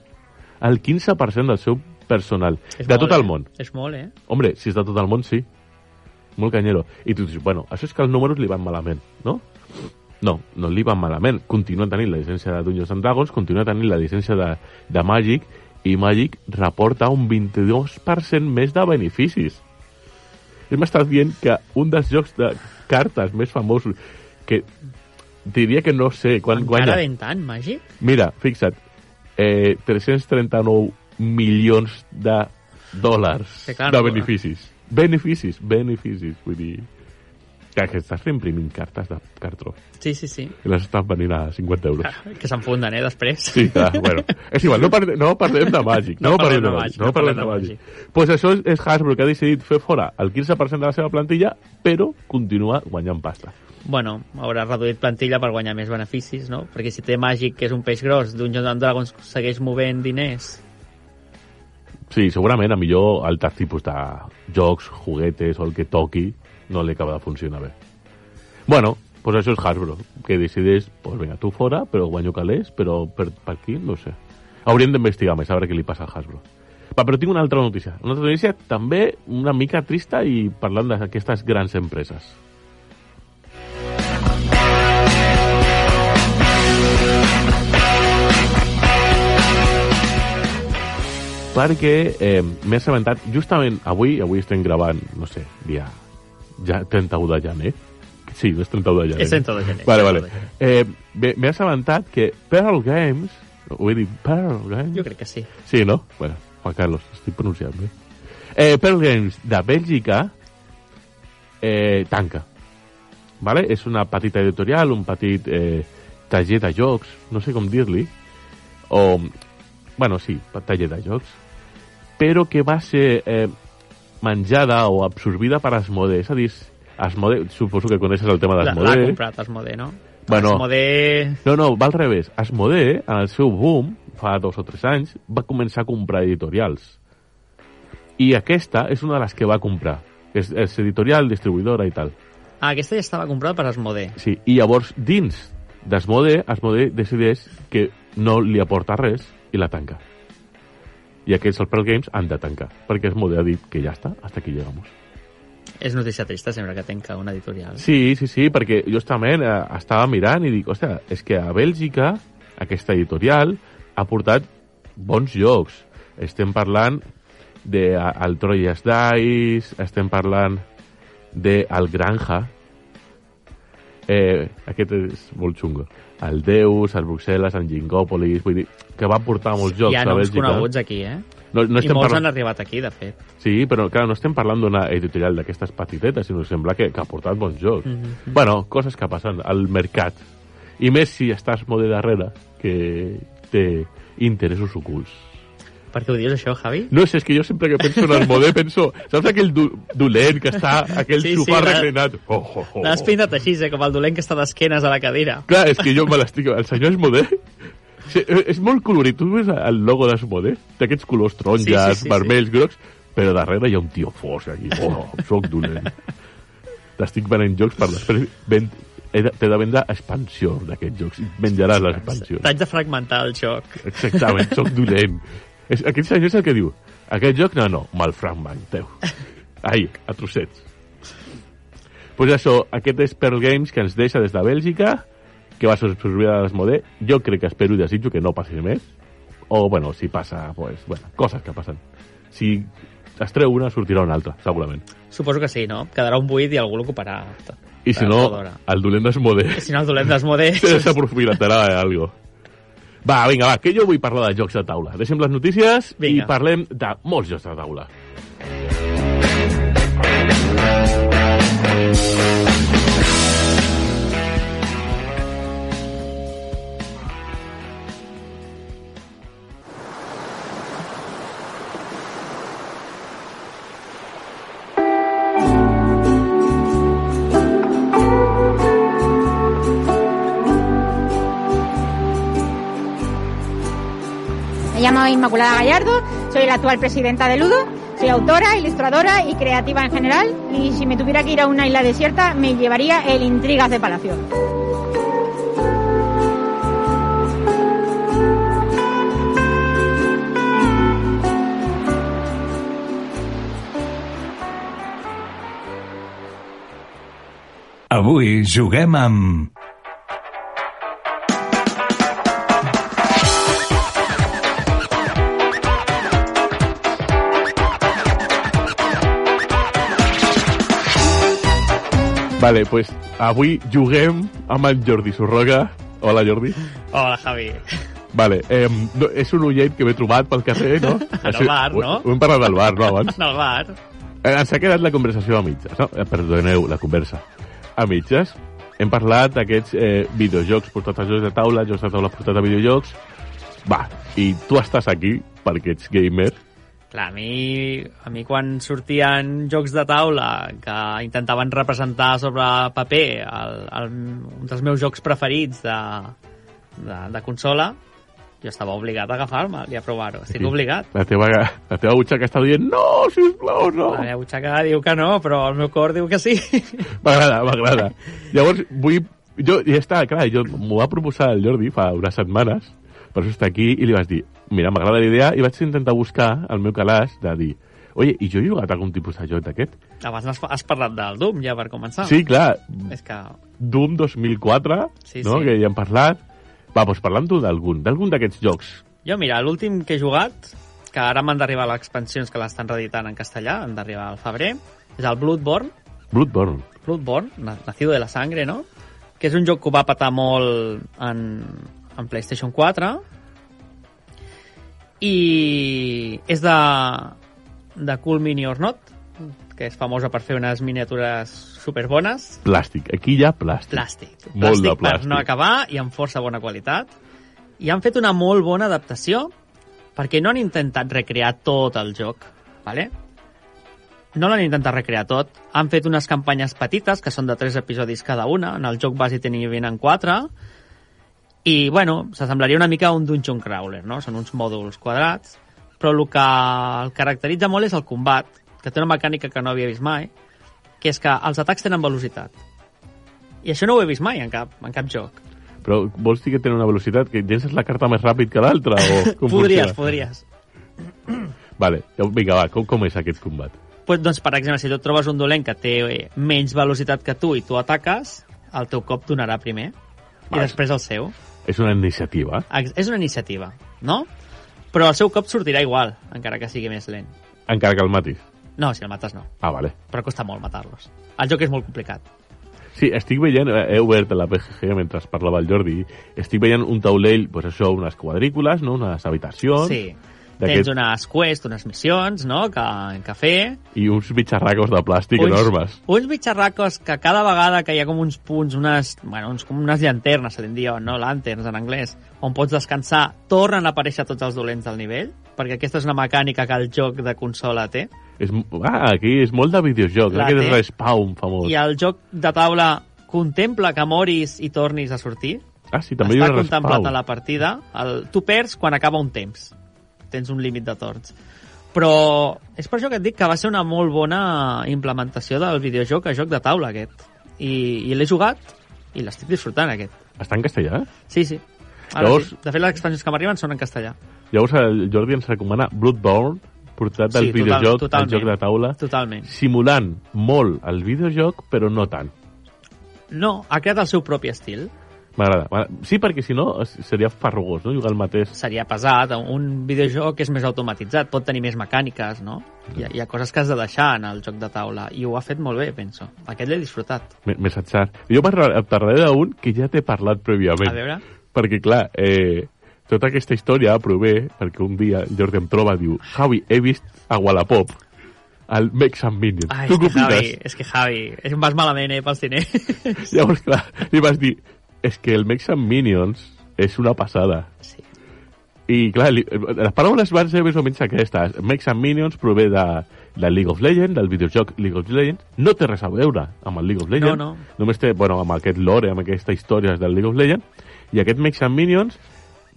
el 15% del seu personal, És de molt, tot el eh? món. És molt, eh? Hombre, si és de tot el món, sí. Molt canyero. I tu dius, bueno, això és que els números li van malament, no? No, no li van malament. Continua tenint la llicència de Dungeons and Dragons, continua tenint la llicència de, de Magic, i Magic reporta un 22% més de beneficis. Hem estat dient que un dels jocs de cartes més famosos, que diria que no sé quan Encara guanya... ben tant, màgic? Mira, fixa't, eh, 339 milions de dòlars Que clar, de no- beneficis. Beneficis, beneficis, vull dir... Clar, que estàs reimprimint cartes de cartró Sí, sí, sí. i les estan venint a 50 euros. Que s'enfunden, eh, després. *laughs* Sí, clar, bueno. És igual, no, parlem, no parlem de màgic. No, parlem de màgic. No parlem de màgic. pues això és, és Hasbro, que ha decidit fer fora el 15% de la seva plantilla, però continua guanyant pasta. *laughs* Bueno, haurà reduït plantilla per guanyar més beneficis, no? Perquè si té màgic, que és un peix gros, Dungeons and Dragons segueix movent diners. Sí, segurament a millor altres tipus de pues, jocs, juguetes o el que toqui no li acaba de funcionar bé. Bueno, pues això és Hasbro, que decideix, pues vinga, tu fora, però guanyo calés, però per, per aquí, no ho sé. Hauríem d'investigar més, a veure què li passa a Hasbro. Va, però tinc una altra notícia. Una altra notícia també una mica trista i parlant d'aquestes grans empreses. perquè eh, m'he assabentat justament avui, avui estem gravant, no sé, dia ja 31 de gener. Sí, no és 31 de gener. És 31 de gener, Vale, 31 vale. de gener. Eh, bé, m'he assabentat que Pearl Games, ho he dit, Pearl Games... Jo crec que sí. Sí, no? Bueno, Juan Carlos, estic pronunciant bé. Eh, Pearl Games de Bèlgica eh, tanca. vale? és una petita editorial, un petit eh, taller de jocs, no sé com dir-li, o, bueno, sí, taller de jocs, però que va ser eh, menjada o absorbida per Asmode, és a dir, Asmode, suposo que coneixes el tema L'ha l'ha d'Asmode. comprat Asmodee, no? Bueno. Asmodee... No, no, va al revés. Asmodee, en el seu boom, fa dos o tres anys, va començar a comprar editorials. I aquesta és una de les que va comprar. És, és editorial, distribuïdora i tal. Ah, aquesta ja estava comprada per Asmodee. Sí, i llavors, dins d'Asmodee, Asmodee decideix que no li aporta res i la tanca. I aquests, el Pearl Games, han de tancar. Perquè Asmodee ha dit que ja està, hasta aquí llegamos. És notícia trista sempre que tenca una editorial. Sí, sí, sí, perquè justament eh, estava mirant i dic, hòstia, és que a Bèlgica aquesta editorial ha portat bons jocs. Estem parlant de a- el Troyes Dice, estem parlant de el Granja, eh, aquest és molt xungo, el Deus, el Bruxelles, el Gingòpolis, vull dir, que va portar molts jocs Hi ha a noms Bèlgica. coneguts aquí, eh? No, no I estem molts parlant... han arribat aquí, de fet. Sí, però clar, no estem parlant d'una editorial d'aquestes petitetes, sinó que sembla que, que ha portat bons jocs. Mm Mm-hmm. -hmm. Bueno, coses que passen al mercat. I més si estàs molt de darrere, que té interessos ocults. Per què ho dius, això, Javi? No sé, és que jo sempre que penso en el *laughs* modé penso... Saps aquell do dolent que està, aquell sí, Sí, sí, sofà sí, la- reclinat? Oh, oh, oh. L'has pintat així, eh? com el dolent que està d'esquenes a la cadira. Clar, és que jo me l'estic... El senyor Esmodé... Sí, és molt colorit. Tu veus el logo d'Esmodé? Té aquests colors taronges, Sí, sí, sí, sí, sí, sí. vermells, sí. grocs, però darrere hi ha un tio fosc aquí. Oh, soc dolent. T'estic venent jocs per després... Ven... he de- T'he de vendre expansió d'aquests jocs. i et Menjaràs l'expansió. T'haig de fragmentar el joc. Exactament, sóc dolent. És, aquest senyor és el que diu, aquest joc no, no, me'l fragmenteu. Ai, a trossets. Doncs pues això, aquest és Pearl Games que ens deixa des de Bèlgica, que va sorprendre a l'Esmodé. Jo crec que espero i desitjo que no passi més. O, bueno, si passa, pues, bueno, coses que passen. Si es treu una, sortirà una altra, segurament. Suposo que sí, no? Quedarà un buit i algú l'ocuparà. I si Tard no, o d'hora. el dolent d'Esmodé Si no, el dolent d'Asmodee... *laughs* se aprofitarà de algo. Va, vinga, va, que jo vull parlar de jocs de taula. Deixem les notícies Vinga. i parlem de molts jocs de taula. Me llamo Inmaculada Gallardo, soy la actual presidenta de Ludo, soy autora, ilustradora y creativa en general y si me tuviera que ir a una isla desierta me llevaría el Intrigas de Palacio. Avui juguem amb... Vale, pues avui juguem amb el Jordi Sorroca. Hola, Jordi. Hola, Javi. Vale, eh, no, és un oient que m'he trobat pel carrer, *laughs* no? En el bar, no? Ho, ho hem parlat del bar, no, abans? En el bar. Eh, Ens ha quedat la conversació a mitges, no? Eh, Perdoneu, la conversa. A mitges hem parlat d'aquests eh, videojocs portats a jocs de taula, jocs de taula portats a videojocs. Va, i tu estàs aquí perquè ets gamer. Clar, a mi, a mi quan sortien jocs de taula que intentaven representar sobre paper el, el, un dels meus jocs preferits de, de, de consola, jo estava obligat a agafar-me'l i a provar-ho. Estic Sí. obligat. La teva, la teva butxaca està dient no, sisplau, no. La meva butxaca diu que no, però el meu cor diu que sí. *laughs* M'agrada, m'agrada. Llavors, vull... Jo, ja està, clar, jo m'ho va proposar el Jordi fa unes setmanes, per això està aquí, i li vaig dir, mira, m'agrada la idea, i vaig intentar buscar el meu calaix de dir, oye, i jo he jugat a algun tipus de joc d'aquest? Abans has, has parlat del Doom, ja, per començar. Sí, clar, És que... Doom 2004, Sí, no?, sí. que ja hem parlat. Va, doncs parlem tu d'algun, d'algun d'aquests jocs. Jo, mira, l'últim que he jugat, que ara m'han d'arribar les expansions que l'estan reeditant en castellà, han d'arribar al febrer, és el Bloodborne, Bloodborne. Bloodborne, na- Nacido de la Sangre, no? Que és un joc que ho va patar molt en, en PlayStation 4 i és de, de Cool Mini or Not, que és famosa per fer unes miniatures superbones. Plàstic. Aquí hi ha plàstic. Plàstic. Plàstic, Molt de plàstic. per no acabar i amb força bona qualitat. I han fet una molt bona adaptació perquè no han intentat recrear tot el joc, ¿vale? No l'han intentat recrear tot. Han fet unes campanyes petites, que són de tres episodis cada una. En el joc base tenien en quatre. I, bueno, s'assemblaria una mica a un Dungeon Crawler, no? Són uns mòduls quadrats. Però el que el caracteritza molt és el combat, que té una mecànica que no havia vist mai, que és que els atacs tenen velocitat. I això no ho he vist mai en cap, en cap joc. Però vols dir que tenen una velocitat que llences la carta més ràpid que l'altra? o com *laughs* funciona? podries, podries. Vale, vinga, va, com, com és aquest combat? Pues, doncs, per exemple, si tu et trobes un dolent que té eh, menys velocitat que tu i tu ataques, el teu cop donarà primer i Vale. després el seu. És una iniciativa. Ex- És una iniciativa, no? Però el seu cop sortirà igual, encara que sigui més lent. Encara que el matis. No, si el mates no, Ah, vale. però costa molt matar-los. El joc és molt complicat. Sí, estic veient, eh, he obert la PGG mentre parlava el Jordi, estic veient un taulell, pues això, unes quadrícules, no? unes habitacions, Sí. Doncs, d'aquest- Tens unes quests, unes missions, no?, que, que fer. i uns bitxarracos de plàstic enormes. Uns bitxarracos que cada vegada que hi ha com uns punts, unes, bueno, uns, com unes llanternes, se li diu, no? Lanterns en anglès, on pots descansar, tornen a aparèixer tots els dolents del nivell, perquè aquesta és una mecànica que el joc de consola té. És, m- ah, aquí és molt de videojoc, La crec que és té. Respawn famós. I el joc de taula contempla que moris i tornis a sortir. Ah, sí, també hi ha Està un contemplat Respawn. a la partida. El, tu perds quan acaba un temps. Tens un límit de torns. Però és per això que et dic que va ser una molt bona implementació del videojoc a joc de taula aquest. I, i l'he jugat i l'estic disfrutant aquest. Està en castellà? Sí, sí. Ara Llavors- sí. De fet, les expansions que m'arriben són en castellà. Llavors el Jordi ens recomana Bloodborne, portat del Sí, total- videojoc, al totalment. joc de taula, Totalment. simulant molt el videojoc, però no tant. No, ha creat el seu propi estil. M'agrada. m'agrada. Sí, perquè si no es- seria farrugós, no? Jugar el mateix. Seria pesat. Un videojoc és més automatitzat, pot tenir més mecàniques, no? Hi ha, hi ha coses que has de deixar en el joc de taula. I ho ha fet molt bé, penso. Aquest l'he disfrutat. Me- Missatjar. Jo parla- et parlaré d'un que ja t'he parlat prèviament. A veure... Perquè, clar, eh, tota aquesta història prové perquè un dia en Jordi em troba diu Javi, he vist a Wallapop al Mex and Minions. Ai, tu Ah, què és que opines? Javi, és que Javi, em vas malament, eh, pels diners. *laughs* *laughs* Llavors, clar, li vas dir és que el Mex and Minions és una passada. Sí. I, clar, li, les paraules van ser més o menys aquestes. Mex and Minions prové de, de League of Legends, del videojoc League of Legends. No té res a veure amb el League of Legends. No, no. Només té, bueno, amb aquest lore, amb aquesta història del League of Legends. I aquest Mex and Minions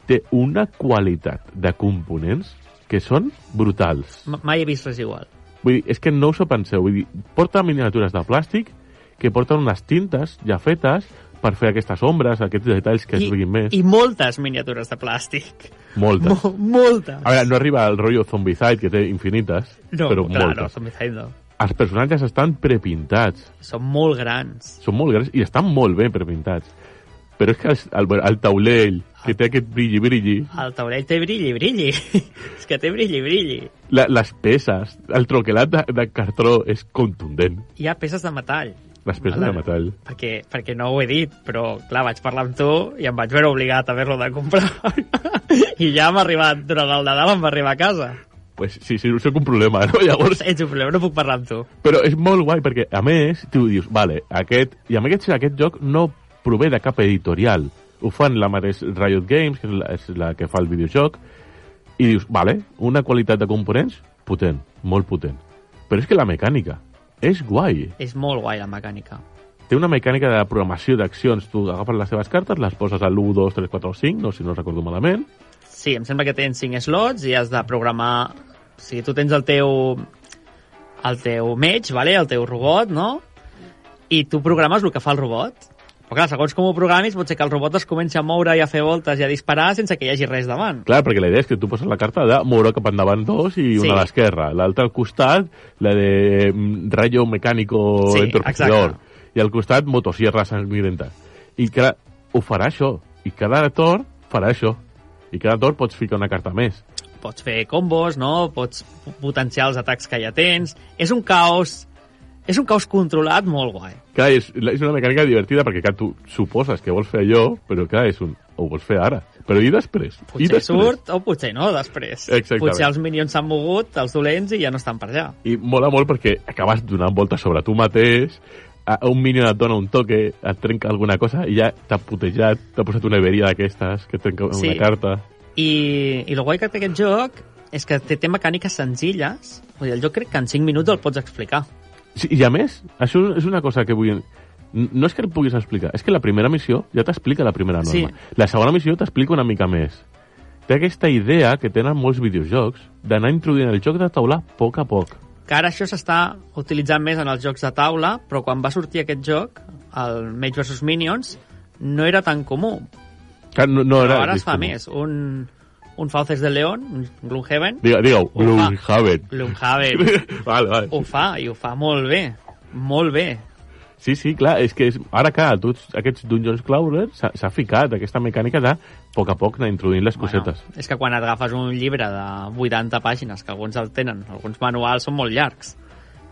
té una qualitat de components que són brutals. M- Mai he vist res igual. Vull dir, és que no us ho penseu. Vull dir, porta miniatures de plàstic que porten unes tintes ja fetes per fer aquestes ombres, aquests detalls que es I, vulguin més. I moltes miniatures de plàstic. Moltes. Mo moltes. A veure, no arriba al rotllo Zombicide, que té infinites, no, però clar, no, moltes. som Mijail, no. Els personatges estan prepintats, Són molt grans. són molt grans i estan molt ben prepintats. Però és que el, el, el taulell, que té aquest brilli-brilli, El taulell té brilli, brilli. *laughs* és que té brilli, brilli. la, les peces, el troquelat de, de cartró és contundent. Hi ha peces de metall. Les peces Vale. de metall. Perquè, perquè no ho he dit, però clar, vaig parlar amb tu i em vaig veure obligat a haver-lo de comprar. *laughs* I ja m'ha arribat, durant el Nadal em va arribar a casa. Pues sí, sí, no sé un problema, *laughs* no? Llavors, Ets un problema, no puc parlar amb tu. Però és molt guai perquè, a més, tu dius, vale, aquest, i a més aquest, aquest joc no prové de cap editorial. Ho fan la mateix Riot Games, que és la, és la que fa el videojoc, i dius, vale, una qualitat de components potent, molt potent. Però és que la mecànica és guai. És molt guai la mecànica. Té una mecànica de programació d'accions. Tu agafes les teves cartes, les poses a l'1, 2, 3, 4 o 5, no, si no recordo malament. Sí, em sembla que tens 5 slots i has de programar... O sigui, tu tens el teu... el teu mage, vale? el teu robot, no? I tu programes el que fa el robot. Però clar, segons com ho programis, pot ser que el robot es comenci a moure i a fer voltes i a disparar sense que hi hagi res davant. Clar, perquè la idea és que tu poses la carta de moure cap endavant dos i una Sí. a l'esquerra. L'altra al costat, la de mm, rayo mecánico Sí, entorpecedor. I al costat, motosierra sanguinenta. I clar, ho farà això. I cada torn farà això. I cada torn pots ficar una carta més. Pots fer combos, no? Pots potenciar els atacs que ja tens. És un caos És un caos controlat molt guai. Clar, és, és una mecànica divertida perquè clar, tu suposes que vols fer allò, però clar, és un, ho vols fer ara. Però i després? I Potser després? surt o potser no, després. Exactament. Potser els minions s'han mogut, els dolents, i ja no estan per allà. I mola molt perquè acabes donant voltes sobre tu mateix, a a un minion et dona un toque, et trenca alguna cosa i ja t'ha putejat, t'ha posat una heberia d'aquestes que et trenca una Sí. carta. I, I el guai que té aquest joc és que té, té mecàniques senzilles. Vull dir, jo crec que en 5 minuts el pots explicar. Sí, I a més, això és una cosa que vull... n- No és que el puguis explicar, és que la primera missió ja t'explica la primera norma. Sí. La segona missió t'explica una mica més. Té aquesta idea que tenen molts videojocs d'anar introduint el joc de taula a poc a poc. Que ara això s'està utilitzant més en els jocs de taula, però quan va sortir aquest joc, el Mage vs Minions, no era tan comú. Clar, no, no Però era ara es fa disponible. més. Un, un Fauces de León, un Gloomhaven, Digue, digue-ho, Ho fa. Gloomhaven. *laughs* Gloomhaven vale, vale. ho fa, i ho fa molt bé. Molt bé. Sí, sí, clar, és que és, ara que a tots aquests Dungeons Crawler s'ha s'ha ficat aquesta mecànica de a poc a poc anar introduint les cosetes. Bueno, és que quan et agafes un llibre de 80 pàgines, que alguns el tenen, alguns manuals són molt llargs,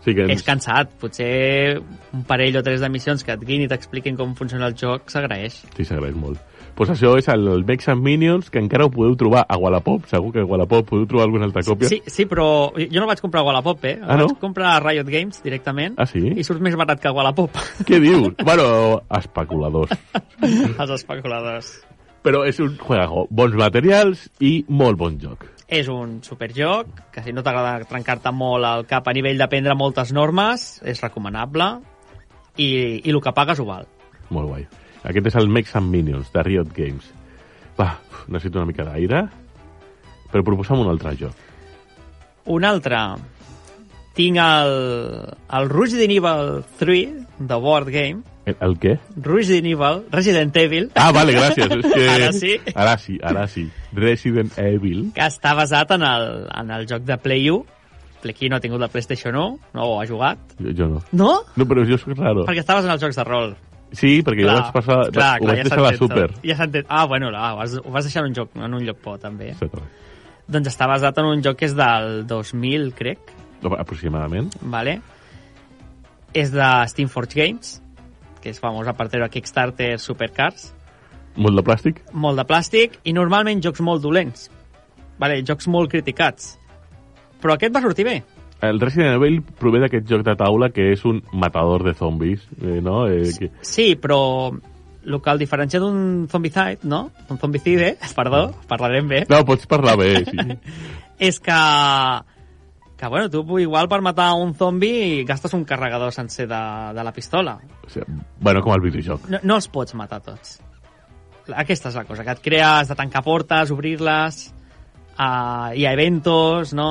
sí que ens- és cansat. Potser un parell o tres de missions que et guin i t'expliquin com funciona el joc s'agraeix. Sí, s'agraeix molt. Doncs pues això és el Mex and Minions, que encara ho podeu trobar a Wallapop. Segur que a Wallapop podeu trobar alguna altra còpia. Sí, sí, però jo no vaig comprar a Wallapop, eh? Ah, vaig no? comprar a Riot Games directament Ah, sí? i surt més barat que a *laughs* Wallapop, Què dius? bueno, especuladors. els especuladors. Però és un juego. Bons materials i molt bon joc. És un superjoc, que si no t'agrada trencar-te molt el cap a nivell d'aprendre moltes normes, és recomanable, i, i el que pagues ho val. Molt guai. Aquest és el Mex and Minions, de Riot Games. Va, uf, necessito una mica d'aire, però proposa'm un altre joc. Un altre. Tinc el, el Resident Evil 3, de Board Game. El, el què? Resident Evil, Resident Evil, Ah, vale, gràcies. És que... Ara sí. Ara sí, ara sí. Resident Evil. que està basat en el, en el joc de Play 1. Play qui no ha tingut la PlayStation 1, no ho ha jugat. Jo, jo no. No? No, però jo soc raro. Perquè estaves en els jocs de rol. Sí, perquè jo vaig passar... ho vaig deixar a la s'entén Super. tot. Ja s'entén. Ah, bueno, ah, ho, vas, ho vas deixar en un, joc, en un lloc por, també. Exactament. Doncs està basat en un joc que és del 2000, crec, Aproximadament. vale? És de Steamforge Games, que és famosa per treure Kickstarter Supercars. Molt de plàstic? molt de plàstic i normalment jocs molt dolents. Vale, jocs molt criticats. Però aquest va sortir bé. El Resident Evil prové d'aquest joc de taula que és un matador de zombis, eh, no? Eh, que... Sí, però el que el diferencia d'un zombicide, no? Un zombicide, *laughs* perdó, parlarem bé, No, pots parlar bé, sí. és que... Que, bueno, tu igual per matar un zombi gastes un carregador sencer de, de la pistola. O sigui, bueno, com el videojoc. No, no els pots matar tots. Aquesta és la cosa, que et crees de tancar portes, obrir-les, a, hi ha eventos, no?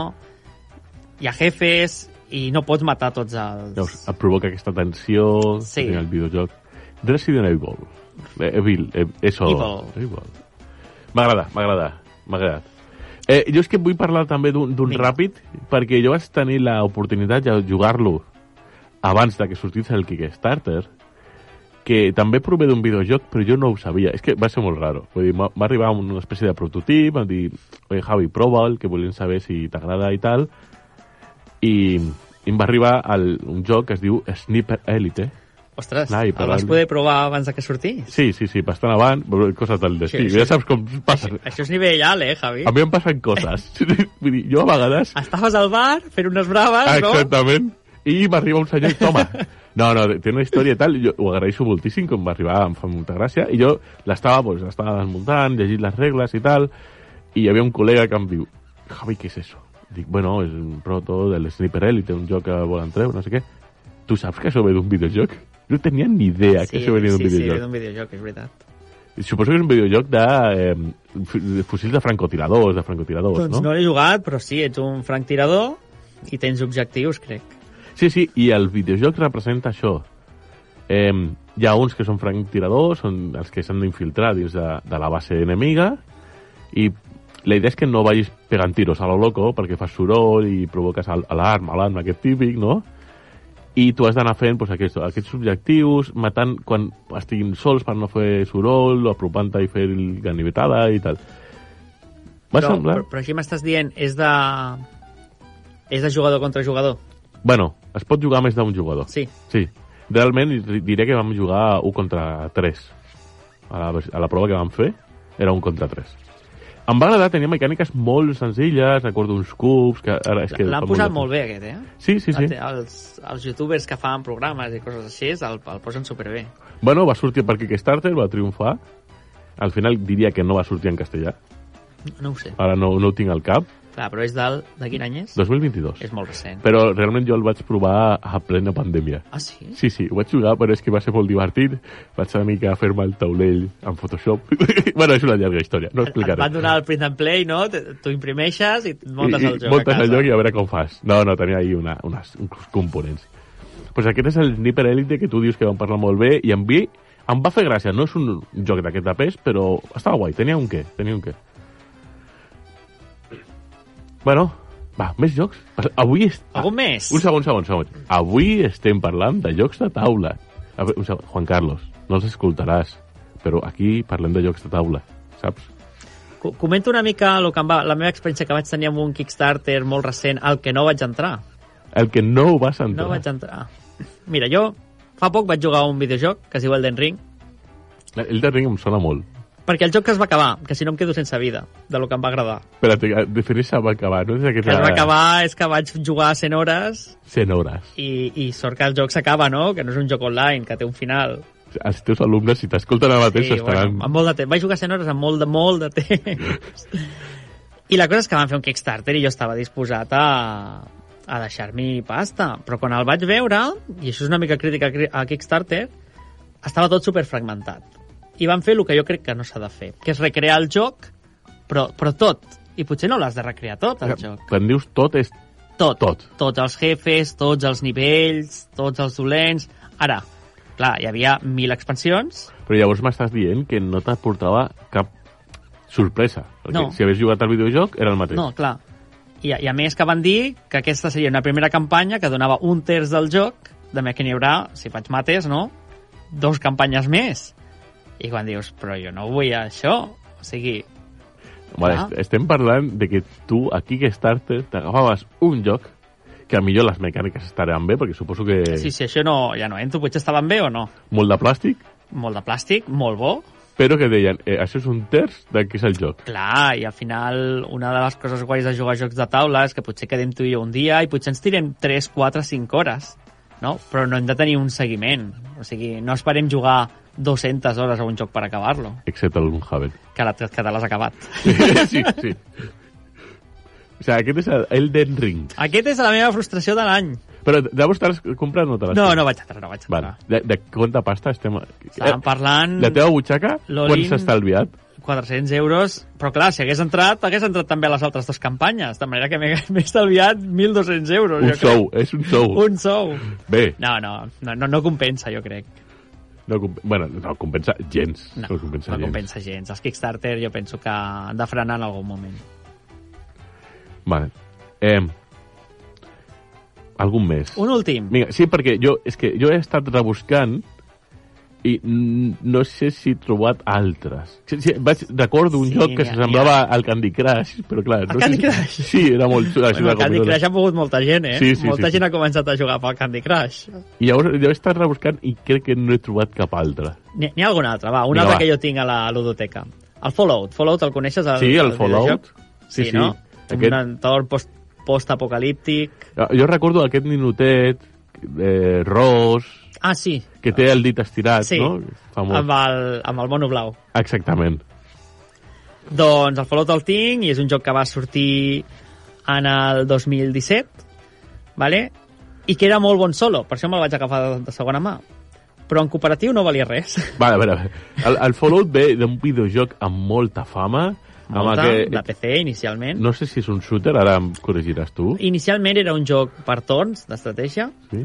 Hi ha jefes, i no pots matar tots els... Llavors, et provoca aquesta tensió Sí. que té el videojoc. Resident Evil. Eh, Evil, eh, eso. Evil. Evil. M'agrada, m'agrada, m'ha agradat. Eh, jo és que vull parlar també d'un d'un Vinga. ràpid, perquè jo vaig tenir l'oportunitat de jugar-lo abans de que sortís el Kickstarter, que també prové d'un videojoc, però jo no ho sabia. És que va ser molt raro. Vull dir, m'ha- m'ha arribat una espècie de prototip, em dir, oi, Javi, prova'l, que volem saber si t'agrada i tal. I, i em va arribar el, un joc que es diu Sniper Elite. Ostres, Ai, el vas perdó. poder provar abans de que sortís? Sí, sí, sí, bastant abans, però coses del destí. Sí, sí. Ja saps com passen. Això és nivell alt, eh, Javi? A mi em passen coses. *laughs* Vull dir, jo a vegades Estaves al bar fent unes Ah, braves, Ah, no? Exactament. I m'arriba un senyor i toma. No, no, té una història i tal, i jo ho agraeixo moltíssim, com m'arribava, em fa molta gràcia, i jo l'estava, pues, l'estava desmuntant, llegint les regles i tal, i hi havia un col·lega que em diu, Javi, què és això? Dic, bueno, és un proto del Sniper Elite, un joc que volen treure, no sé què. Tu saps que això ve d'un videojoc? No tenia ni idea que això venia d'un sí, sí, ve videojoc. d'un videojoc, és veritat. Suposo que és un videojoc de, eh, fu- de fusils de francotiradors, de francotiradors, doncs no, no? l'he jugat, però sí, ets un franctirador i tens objectius, crec. Sí, sí, i el videojoc representa això. Eh, hi ha uns que són franctiradors, són els que s'han d'infiltrar dins de, de la base enemiga, i la idea és que no vagis pegant tiros a lo loco, perquè fas soroll i provoques al- alarma, alarma, aquest típic, no? I tu has d'anar fent doncs, aquests, aquests objectius, matant quan estiguin sols per no fer soroll, o apropant-te i fer el ganivetada i tal. Va però, semblar... però, però així m'estàs dient, és de... És de jugador contra jugador. Bueno, es pot jugar més d'un jugador. Sí. Sí. Realment di- diré que vam jugar 1 contra 3. A la, vers- a la prova que vam fer era 1 contra 3. Em va agradar, tenia mecàniques molt senzilles, recordo uns cubs... Que ara és que L'han fa posat de- molt bé, aquest, eh? Sí, sí, sí. El- Els, els youtubers que fan programes i coses així el, el posen superbé. Bueno, va sortir per Kickstarter, va triomfar. Al final diria que no va sortir en castellà. No ho sé. Ara no, no ho tinc al cap. Clar, però és del, de quin any és? 2022. És molt recent. Però realment jo el vaig provar a plena pandèmia. Ah, sí? Sí, sí, ho vaig jugar, però és que va ser molt divertit. Vaig una mica a fer-me el taulell en Photoshop. *laughs* bueno, és una llarga història, no ho Et explicaré. van donar el print and play, no? Te- Tu imprimeixes i muntes I- i el joc Muntes a casa. el joc i a veure com fas. No, no, tenia ahir una, unes, uns components. Doncs pues aquest és el Sniper Elite que tu dius que vam parlar molt bé i em, vi, em va fer gràcia. No és un joc d'aquest de pes, però estava guai. Tenia un què, tenia un què. Bueno, va, més jocs. Avui... És... Algun més? Un segon, segon, segon. Avui estem parlant de jocs de taula. A veure, un segon. Juan Carlos, no els escoltaràs, però aquí parlem de jocs de taula, saps? Co- Comento una mica lo que em va, la meva experiència que vaig tenir amb un Kickstarter molt recent al que no vaig entrar. El que no ho vas entrar. No vaig entrar. Mira, jo fa poc vaig jugar a un videojoc que es diu Elden Ring, El de Ring em sona molt. perquè el joc que es va acabar, que si no em quedo sense vida, de lo que em va agradar. Espera't, defineix el va acabar, no? És Que aquesta... es va acabar és que vaig jugar 100 hores 100 hores. i, i sort que el joc s'acaba, no? Que no és un joc online, que té un final. Els teus alumnes, si t'escolten ara mateix, Sí, estaran... bueno, amb molt de temps. Vaig jugar 100 hores amb molt de, molt de temps. I la cosa és que van fer un Kickstarter i jo estava disposat a, a deixar-m'hi pasta. Però quan el vaig veure, i això és una mica crítica a Cri- a Kickstarter, estava tot superfragmentat. I van fer el que jo crec que no s'ha de fer, que és recrear el joc, però, però tot. I potser no l'has de recrear tot, el joc. Quan dius tot és... Tot. Tot. Tots els jefes, tots els nivells, tots els dolents... Ara, clar, hi havia mil expansions, Però llavors m'estàs dient que no t'aportava cap sorpresa. Perquè No. si havies jugat al videojoc, era el mateix. No, clar. I, a- I a més que van dir que aquesta seria una primera campanya que donava un terç del joc, de més que n'hi haurà, si faig mates, no? Dos campanyes més. I quan dius, però jo no vull això, o sigui... Vale, Clar. est- estem parlant de que tu, a Kickstarter, t'agafaves un joc que a millor les mecàniques estaran bé, perquè suposo que Sí, sí, això no, ja no entro, potser estaven bé o no. molt de plàstic, Molt de plàstic, molt bo, però que deien, eh, això és un terç de què és el joc. clar, i al final una de les coses guais de jugar a jocs de taula és que potser quedem tu i jo un dia i potser ens tirem 3, 4, 5 hores, no? Però no hem de tenir un seguiment, o sigui, no esperem jugar 200 hores a un joc per acabar-lo. Excepte l'Un *laughs* Haven. que, la, que te l'has acabat. sí, sí. O sigui, aquest és el Elden Ring. Aquest és la meva frustració de l'any. Però llavors te l'has comprat o no te l'has No, comprat? no vaig entrar, no vaig Vale. entrar. De, de quanta pasta estem... Eh, Estàvem parlant La teva butxaca, quan L'Olin- s'ha estalviat? 400 euros, però clar, si hagués entrat, hagués entrat també a les altres dues campanyes, de manera que m'he *laughs* m'he estalviat 1.200 euros. Un jo crec. sou, és un sou. Un sou. Bé, No, no, no, no, no compensa, jo crec. no, comp- bueno, no compensa gens. No, no compensa no gens. compensa gens. Els Kickstarter jo penso que han de frenar en algun moment. Vale. Eh, algun més? Un últim. Vinga, sí, perquè jo, és que jo he estat rebuscant i n- no sé si he trobat altres. Sí, sí, vaig, recordo un Sí, joc que n'hi ha- semblava al Candy Crush, però clar... Al no Candy sé, Crush? Sí, era molt xulo. això era Bueno, el Candy com- Crush ha mogut molta gent, eh? Sí, sí, molta sí, gent sí. ha començat a jugar pel Candy Crush. I llavors jo he estat rebuscant i crec que no he trobat cap altre. N'hi n'hi ha algun altre, va, un Vinga, altre va. que jo tinc a la ludoteca. El Fallout, Fallout el coneixes? El, Sí, el Fallout. videojoc? Sí, Sí, sí. no? Aquest- Ah, Un entorn post postapocalíptic. Jo recordo aquest ninotet, eh, ros, Ah, sí, que té el dit estirat, Sí. Ah, no? Famós. amb el, amb el mono blau. Exactament. Doncs el Fallout el tinc i és un joc que va sortir en el 2017, vale? i que era molt bon solo, per això me'l vaig agafar de, de segona mà. Però en cooperatiu no valia res. Vale, vale, vale. El, el Fallout ve d'un videojoc amb molta fama, amb Molta, aquest- de PC, inicialment. No sé si és un shooter, ara em corregiràs tu. Inicialment era un joc per torns, d'estratègia, Sí?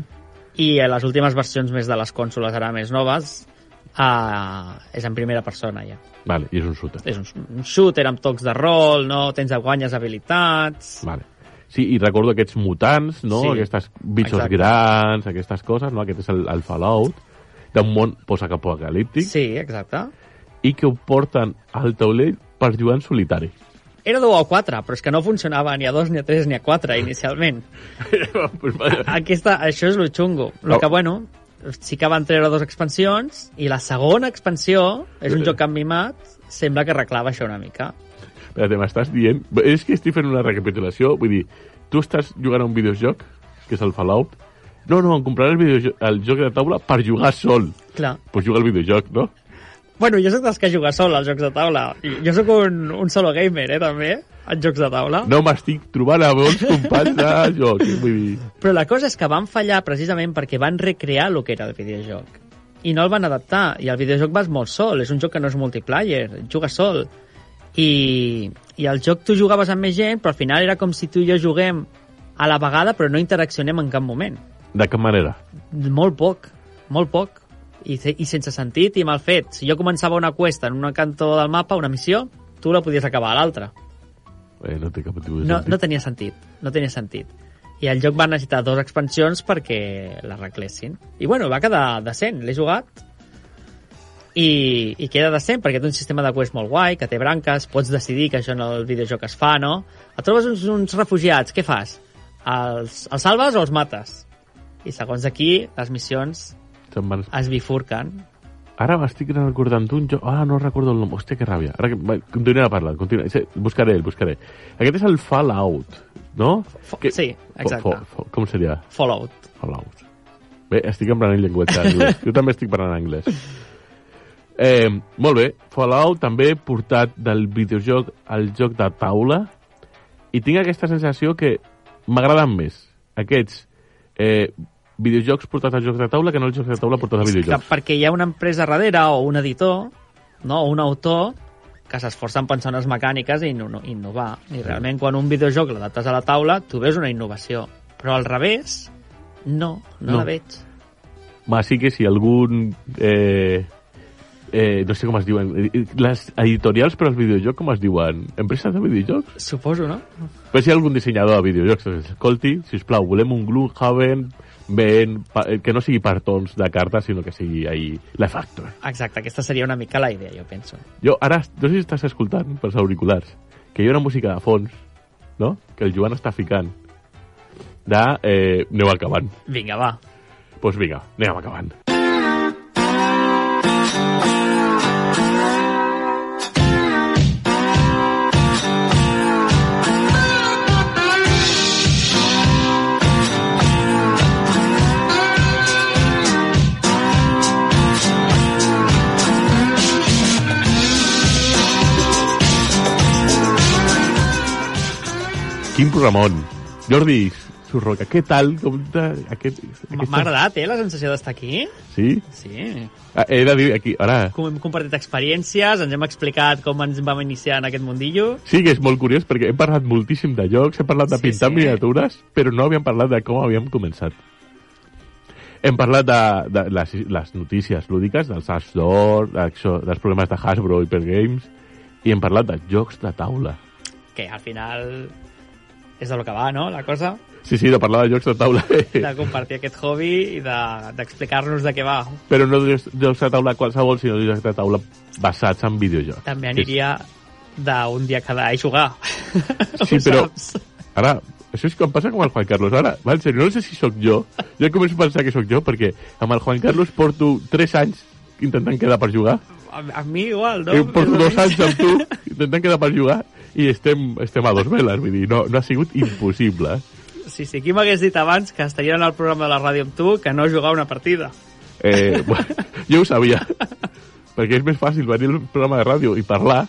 i a les últimes versions més de les cònsoles ara més noves uh, és en primera persona ja Vale, i és un shooter. és un, un shooter amb tocs de rol no tens guanyes habilitats Vale. Sí, i recordo aquests mutants, no? Sí. Aquestes bitxos Exacte. grans, aquestes coses, no? Aquest és el, el Fallout, d'un món post-apocalíptic, sí, exacte *laughs* i que ho porten al taulell per jugar en solitari. Era 2 o 4, però és que no funcionava ni a 2, ni a 3, ni a 4 inicialment. Pues vaya. Aquesta, això és lo xungo. No. Lo que, bueno, sí que van treure dos expansions i la segona expansió és un joc que han mimat, sembla que arreglava això una mica. Espérate, m'estàs dient... És que estic fent una recapitulació, vull dir, tu estàs jugant a un videojoc, que és el Fallout, no, no, em compraré el, videojoc, el joc de taula per jugar sol. Clar. Pues juga al videojoc, no? Bueno, jo sóc dels que juga sol als jocs de taula. I Jo sóc un, un solo gamer, eh, també, en jocs de taula. No m'estic trobant a bons companys de joc, eh? vull dir... Però la cosa és que van fallar precisament perquè van recrear el que era el videojoc. I no el van adaptar. I el videojoc vas molt sol. És un joc que no és multiplayer. Jugues sol. I, I el joc tu jugaves amb més gent, però al final era com si tu i jo juguem a la vegada, però no interaccionem en cap moment. De cap manera. Molt poc. Molt poc. I, se- i sense sentit i mal fet. Si jo començava una cuesta en un cantó del mapa, una missió, tu la podies acabar a l'altra. Eh, no té cap tipus de no, sentit. no tenia sentit, no tenia sentit. I el joc va necessitar dos expansions perquè l'arreglessin. I bueno, va quedar decent, l'he jugat i, i queda decent perquè té un sistema de quest molt guai, que té branques, pots decidir que això en el videojoc es fa, no? Et trobes uns, uns refugiats, què fas? Els, els salves o els mates? I segons aquí, les missions Se'n van... es bifurquen. Ara m'estic recordant d'un joc... Ah, no recordo el nom. Hòstia, que ràbia. Ara que... va, Continuaré parlant. Continua... Sí, Buscaré el, buscaré. Aquest és el Fallout, no? Fo- sí, exacte. Fo, fo, fo, com seria? Fallout. Fallout. Bé, estic emprenent llenguatge anglès. jo també estic parlant anglès. Eh, molt bé, Fallout també portat del videojoc al joc de taula i tinc aquesta sensació que m'agraden més aquests eh, videojocs portats al joc de taula que no els jocs de taula portats a És que videojocs. perquè hi ha una empresa darrere o un editor, no? o un autor que s'esforça en pensar unes mecàniques i inno- innovar. I realment quan un videojoc l'adaptes a la taula, tu veus una innovació. Però al revés, no, no, No. no. la veig. Així que si algun... Eh, eh, no sé com es diuen eh, les editorials per als videojocs com es diuen empreses de videojocs Suposo, no? Però Pues si hi ha algun dissenyador de videojocs que ens escolti, sisplau, volem un Gloomhaven ben, pa- eh, que no sigui per tons de cartes, sinó que sigui ahí la factor. Exacte, aquesta seria una mica la idea, jo penso. Jo ara, no sé si estàs escoltant pels auriculars, que hi ha una música de fons, no?, que el Joan està ficant, de eh, aneu acabant. Vinga, va. Doncs pues vinga, anem acabant. Quin programón. Jordi Surroca, què tal? Com te, aquest, M- aquestes- M'ha agradat, eh, la sensació d'estar aquí. Sí? Sí. Ah, He de dir aquí, ara... Com hem compartit experiències, ens hem explicat com ens vam iniciar en aquest mundillo. Sí que és molt curiós perquè hem parlat moltíssim de jocs, hem parlat de Sí, pintar sí. miniatures, però no havíem parlat de com havíem començat. Hem parlat de, de les, les notícies lúdiques, dels As d'Or, d'això- dels problemes de Hasbro i Per Games, i hem parlat de jocs de taula. Que al final és del que va, no?, la cosa. Sí, sí, de parlar de jocs de taula, *laughs* de compartir aquest hobby i de- d'explicar-nos de, de què va. però no jocs, jocs de taula qualsevol, sinó jocs de taula basats en videojocs. També Que és- aniria d'un dia cada i jugar. Sí, *laughs* Ho però saps? ara, això és que em passa com el Juan Carlos. Ara, va, en sèrio, no sé si sóc jo. Jo començo a pensar que sóc jo, perquè amb el Juan Carlos porto 3 anys intentant quedar per jugar. A, a mi igual, no? No, porto Més o 2 menys. anys amb tu intentant quedar per jugar i estem, estem a dos veles. Vull dir, no, no ha sigut impossible. *laughs* Sí, sí, qui m'hagués dit abans que estaria en el programa de la ràdio amb tu que no jugar una partida? Eh, *laughs* bueno, jo ho sabia. Perquè és més fàcil venir al programa de ràdio i parlar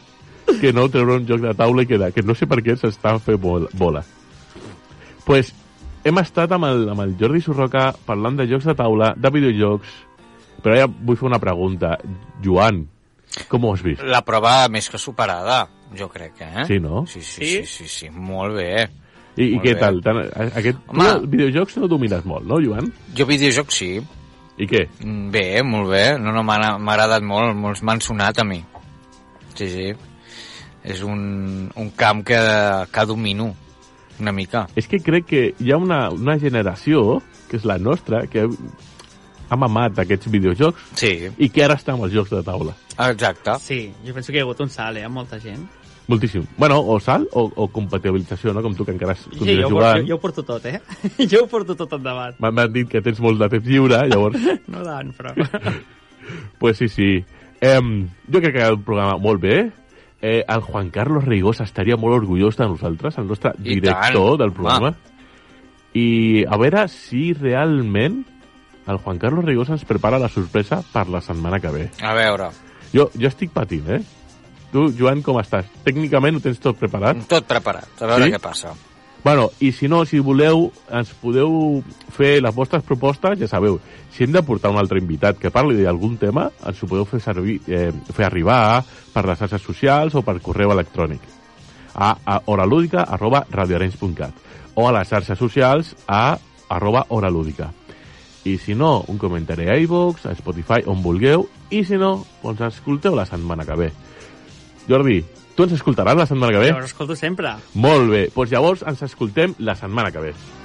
que no treure un joc de taula i quedar, que no sé per què s'està fent bol- bola. pues, hem estat amb el, amb el Jordi Surroca parlant de jocs de taula, de videojocs, però ara vull fer una pregunta. Joan, com ho has vist? La prova més que superada, jo crec, eh? Sí, no? Sí, sí, sí, sí, sí, sí. molt bé. I, i Molt què bé. tal? Tan, a- aquest, tu, Home. videojocs no domines molt, no, Joan? Jo videojoc sí, I què? Mm, Bé, molt bé. No, no, m'ha m'ha agradat molt. Molts m'han sonat a mi. Sí, sí. És un, un camp que, que domino una mica. És que crec que hi ha una, una generació, que és la nostra, que ha mamat aquests videojocs Sí, i que ara està amb els jocs de taula. exacte. Sí, jo penso que hi ha hagut un salt, eh, amb molta gent. Moltíssim. Bueno, o sal o, o compatibilització, no? Com tu, que encara es- Sí, continues jo, ho porto- jugant. jo, ho porto tot, eh? *laughs* Jo ho porto tot endavant. M'han m'han dit que tens molt de temps lliure, *laughs* llavors... No tant, però... pues sí, sí. Em, jo crec que el programa molt bé. Eh, el Juan Carlos Reigós estaria molt orgullós de nosaltres, el nostre I director tant, del programa. home. I a veure si realment el Juan Carlos Reigós ens prepara la sorpresa per la setmana que ve. A veure, Jo, jo estic patint, eh? Tu, Joan, com estàs? Tècnicament ho tens tot preparat? tot preparat, a veure Ah. Sí? què passa. Bueno, i si no, si voleu, ens podeu fer les vostres propostes, ja sabeu, si hem de portar un altre invitat que parli d'algun tema, ens ho podeu fer, servir, eh, fer arribar per les xarxes socials o per correu electrònic a, a horalúdica arroba radioarenys.cat o a les xarxes socials a arroba horalúdica. I si no, un comentari a iVox, a Spotify, on vulgueu, i si no, doncs ens escolteu la setmana que ve. Jordi, tu ens escoltaràs la setmana que ve? Jo ho escolto sempre. Molt bé, doncs llavors ens escoltem la setmana que ve.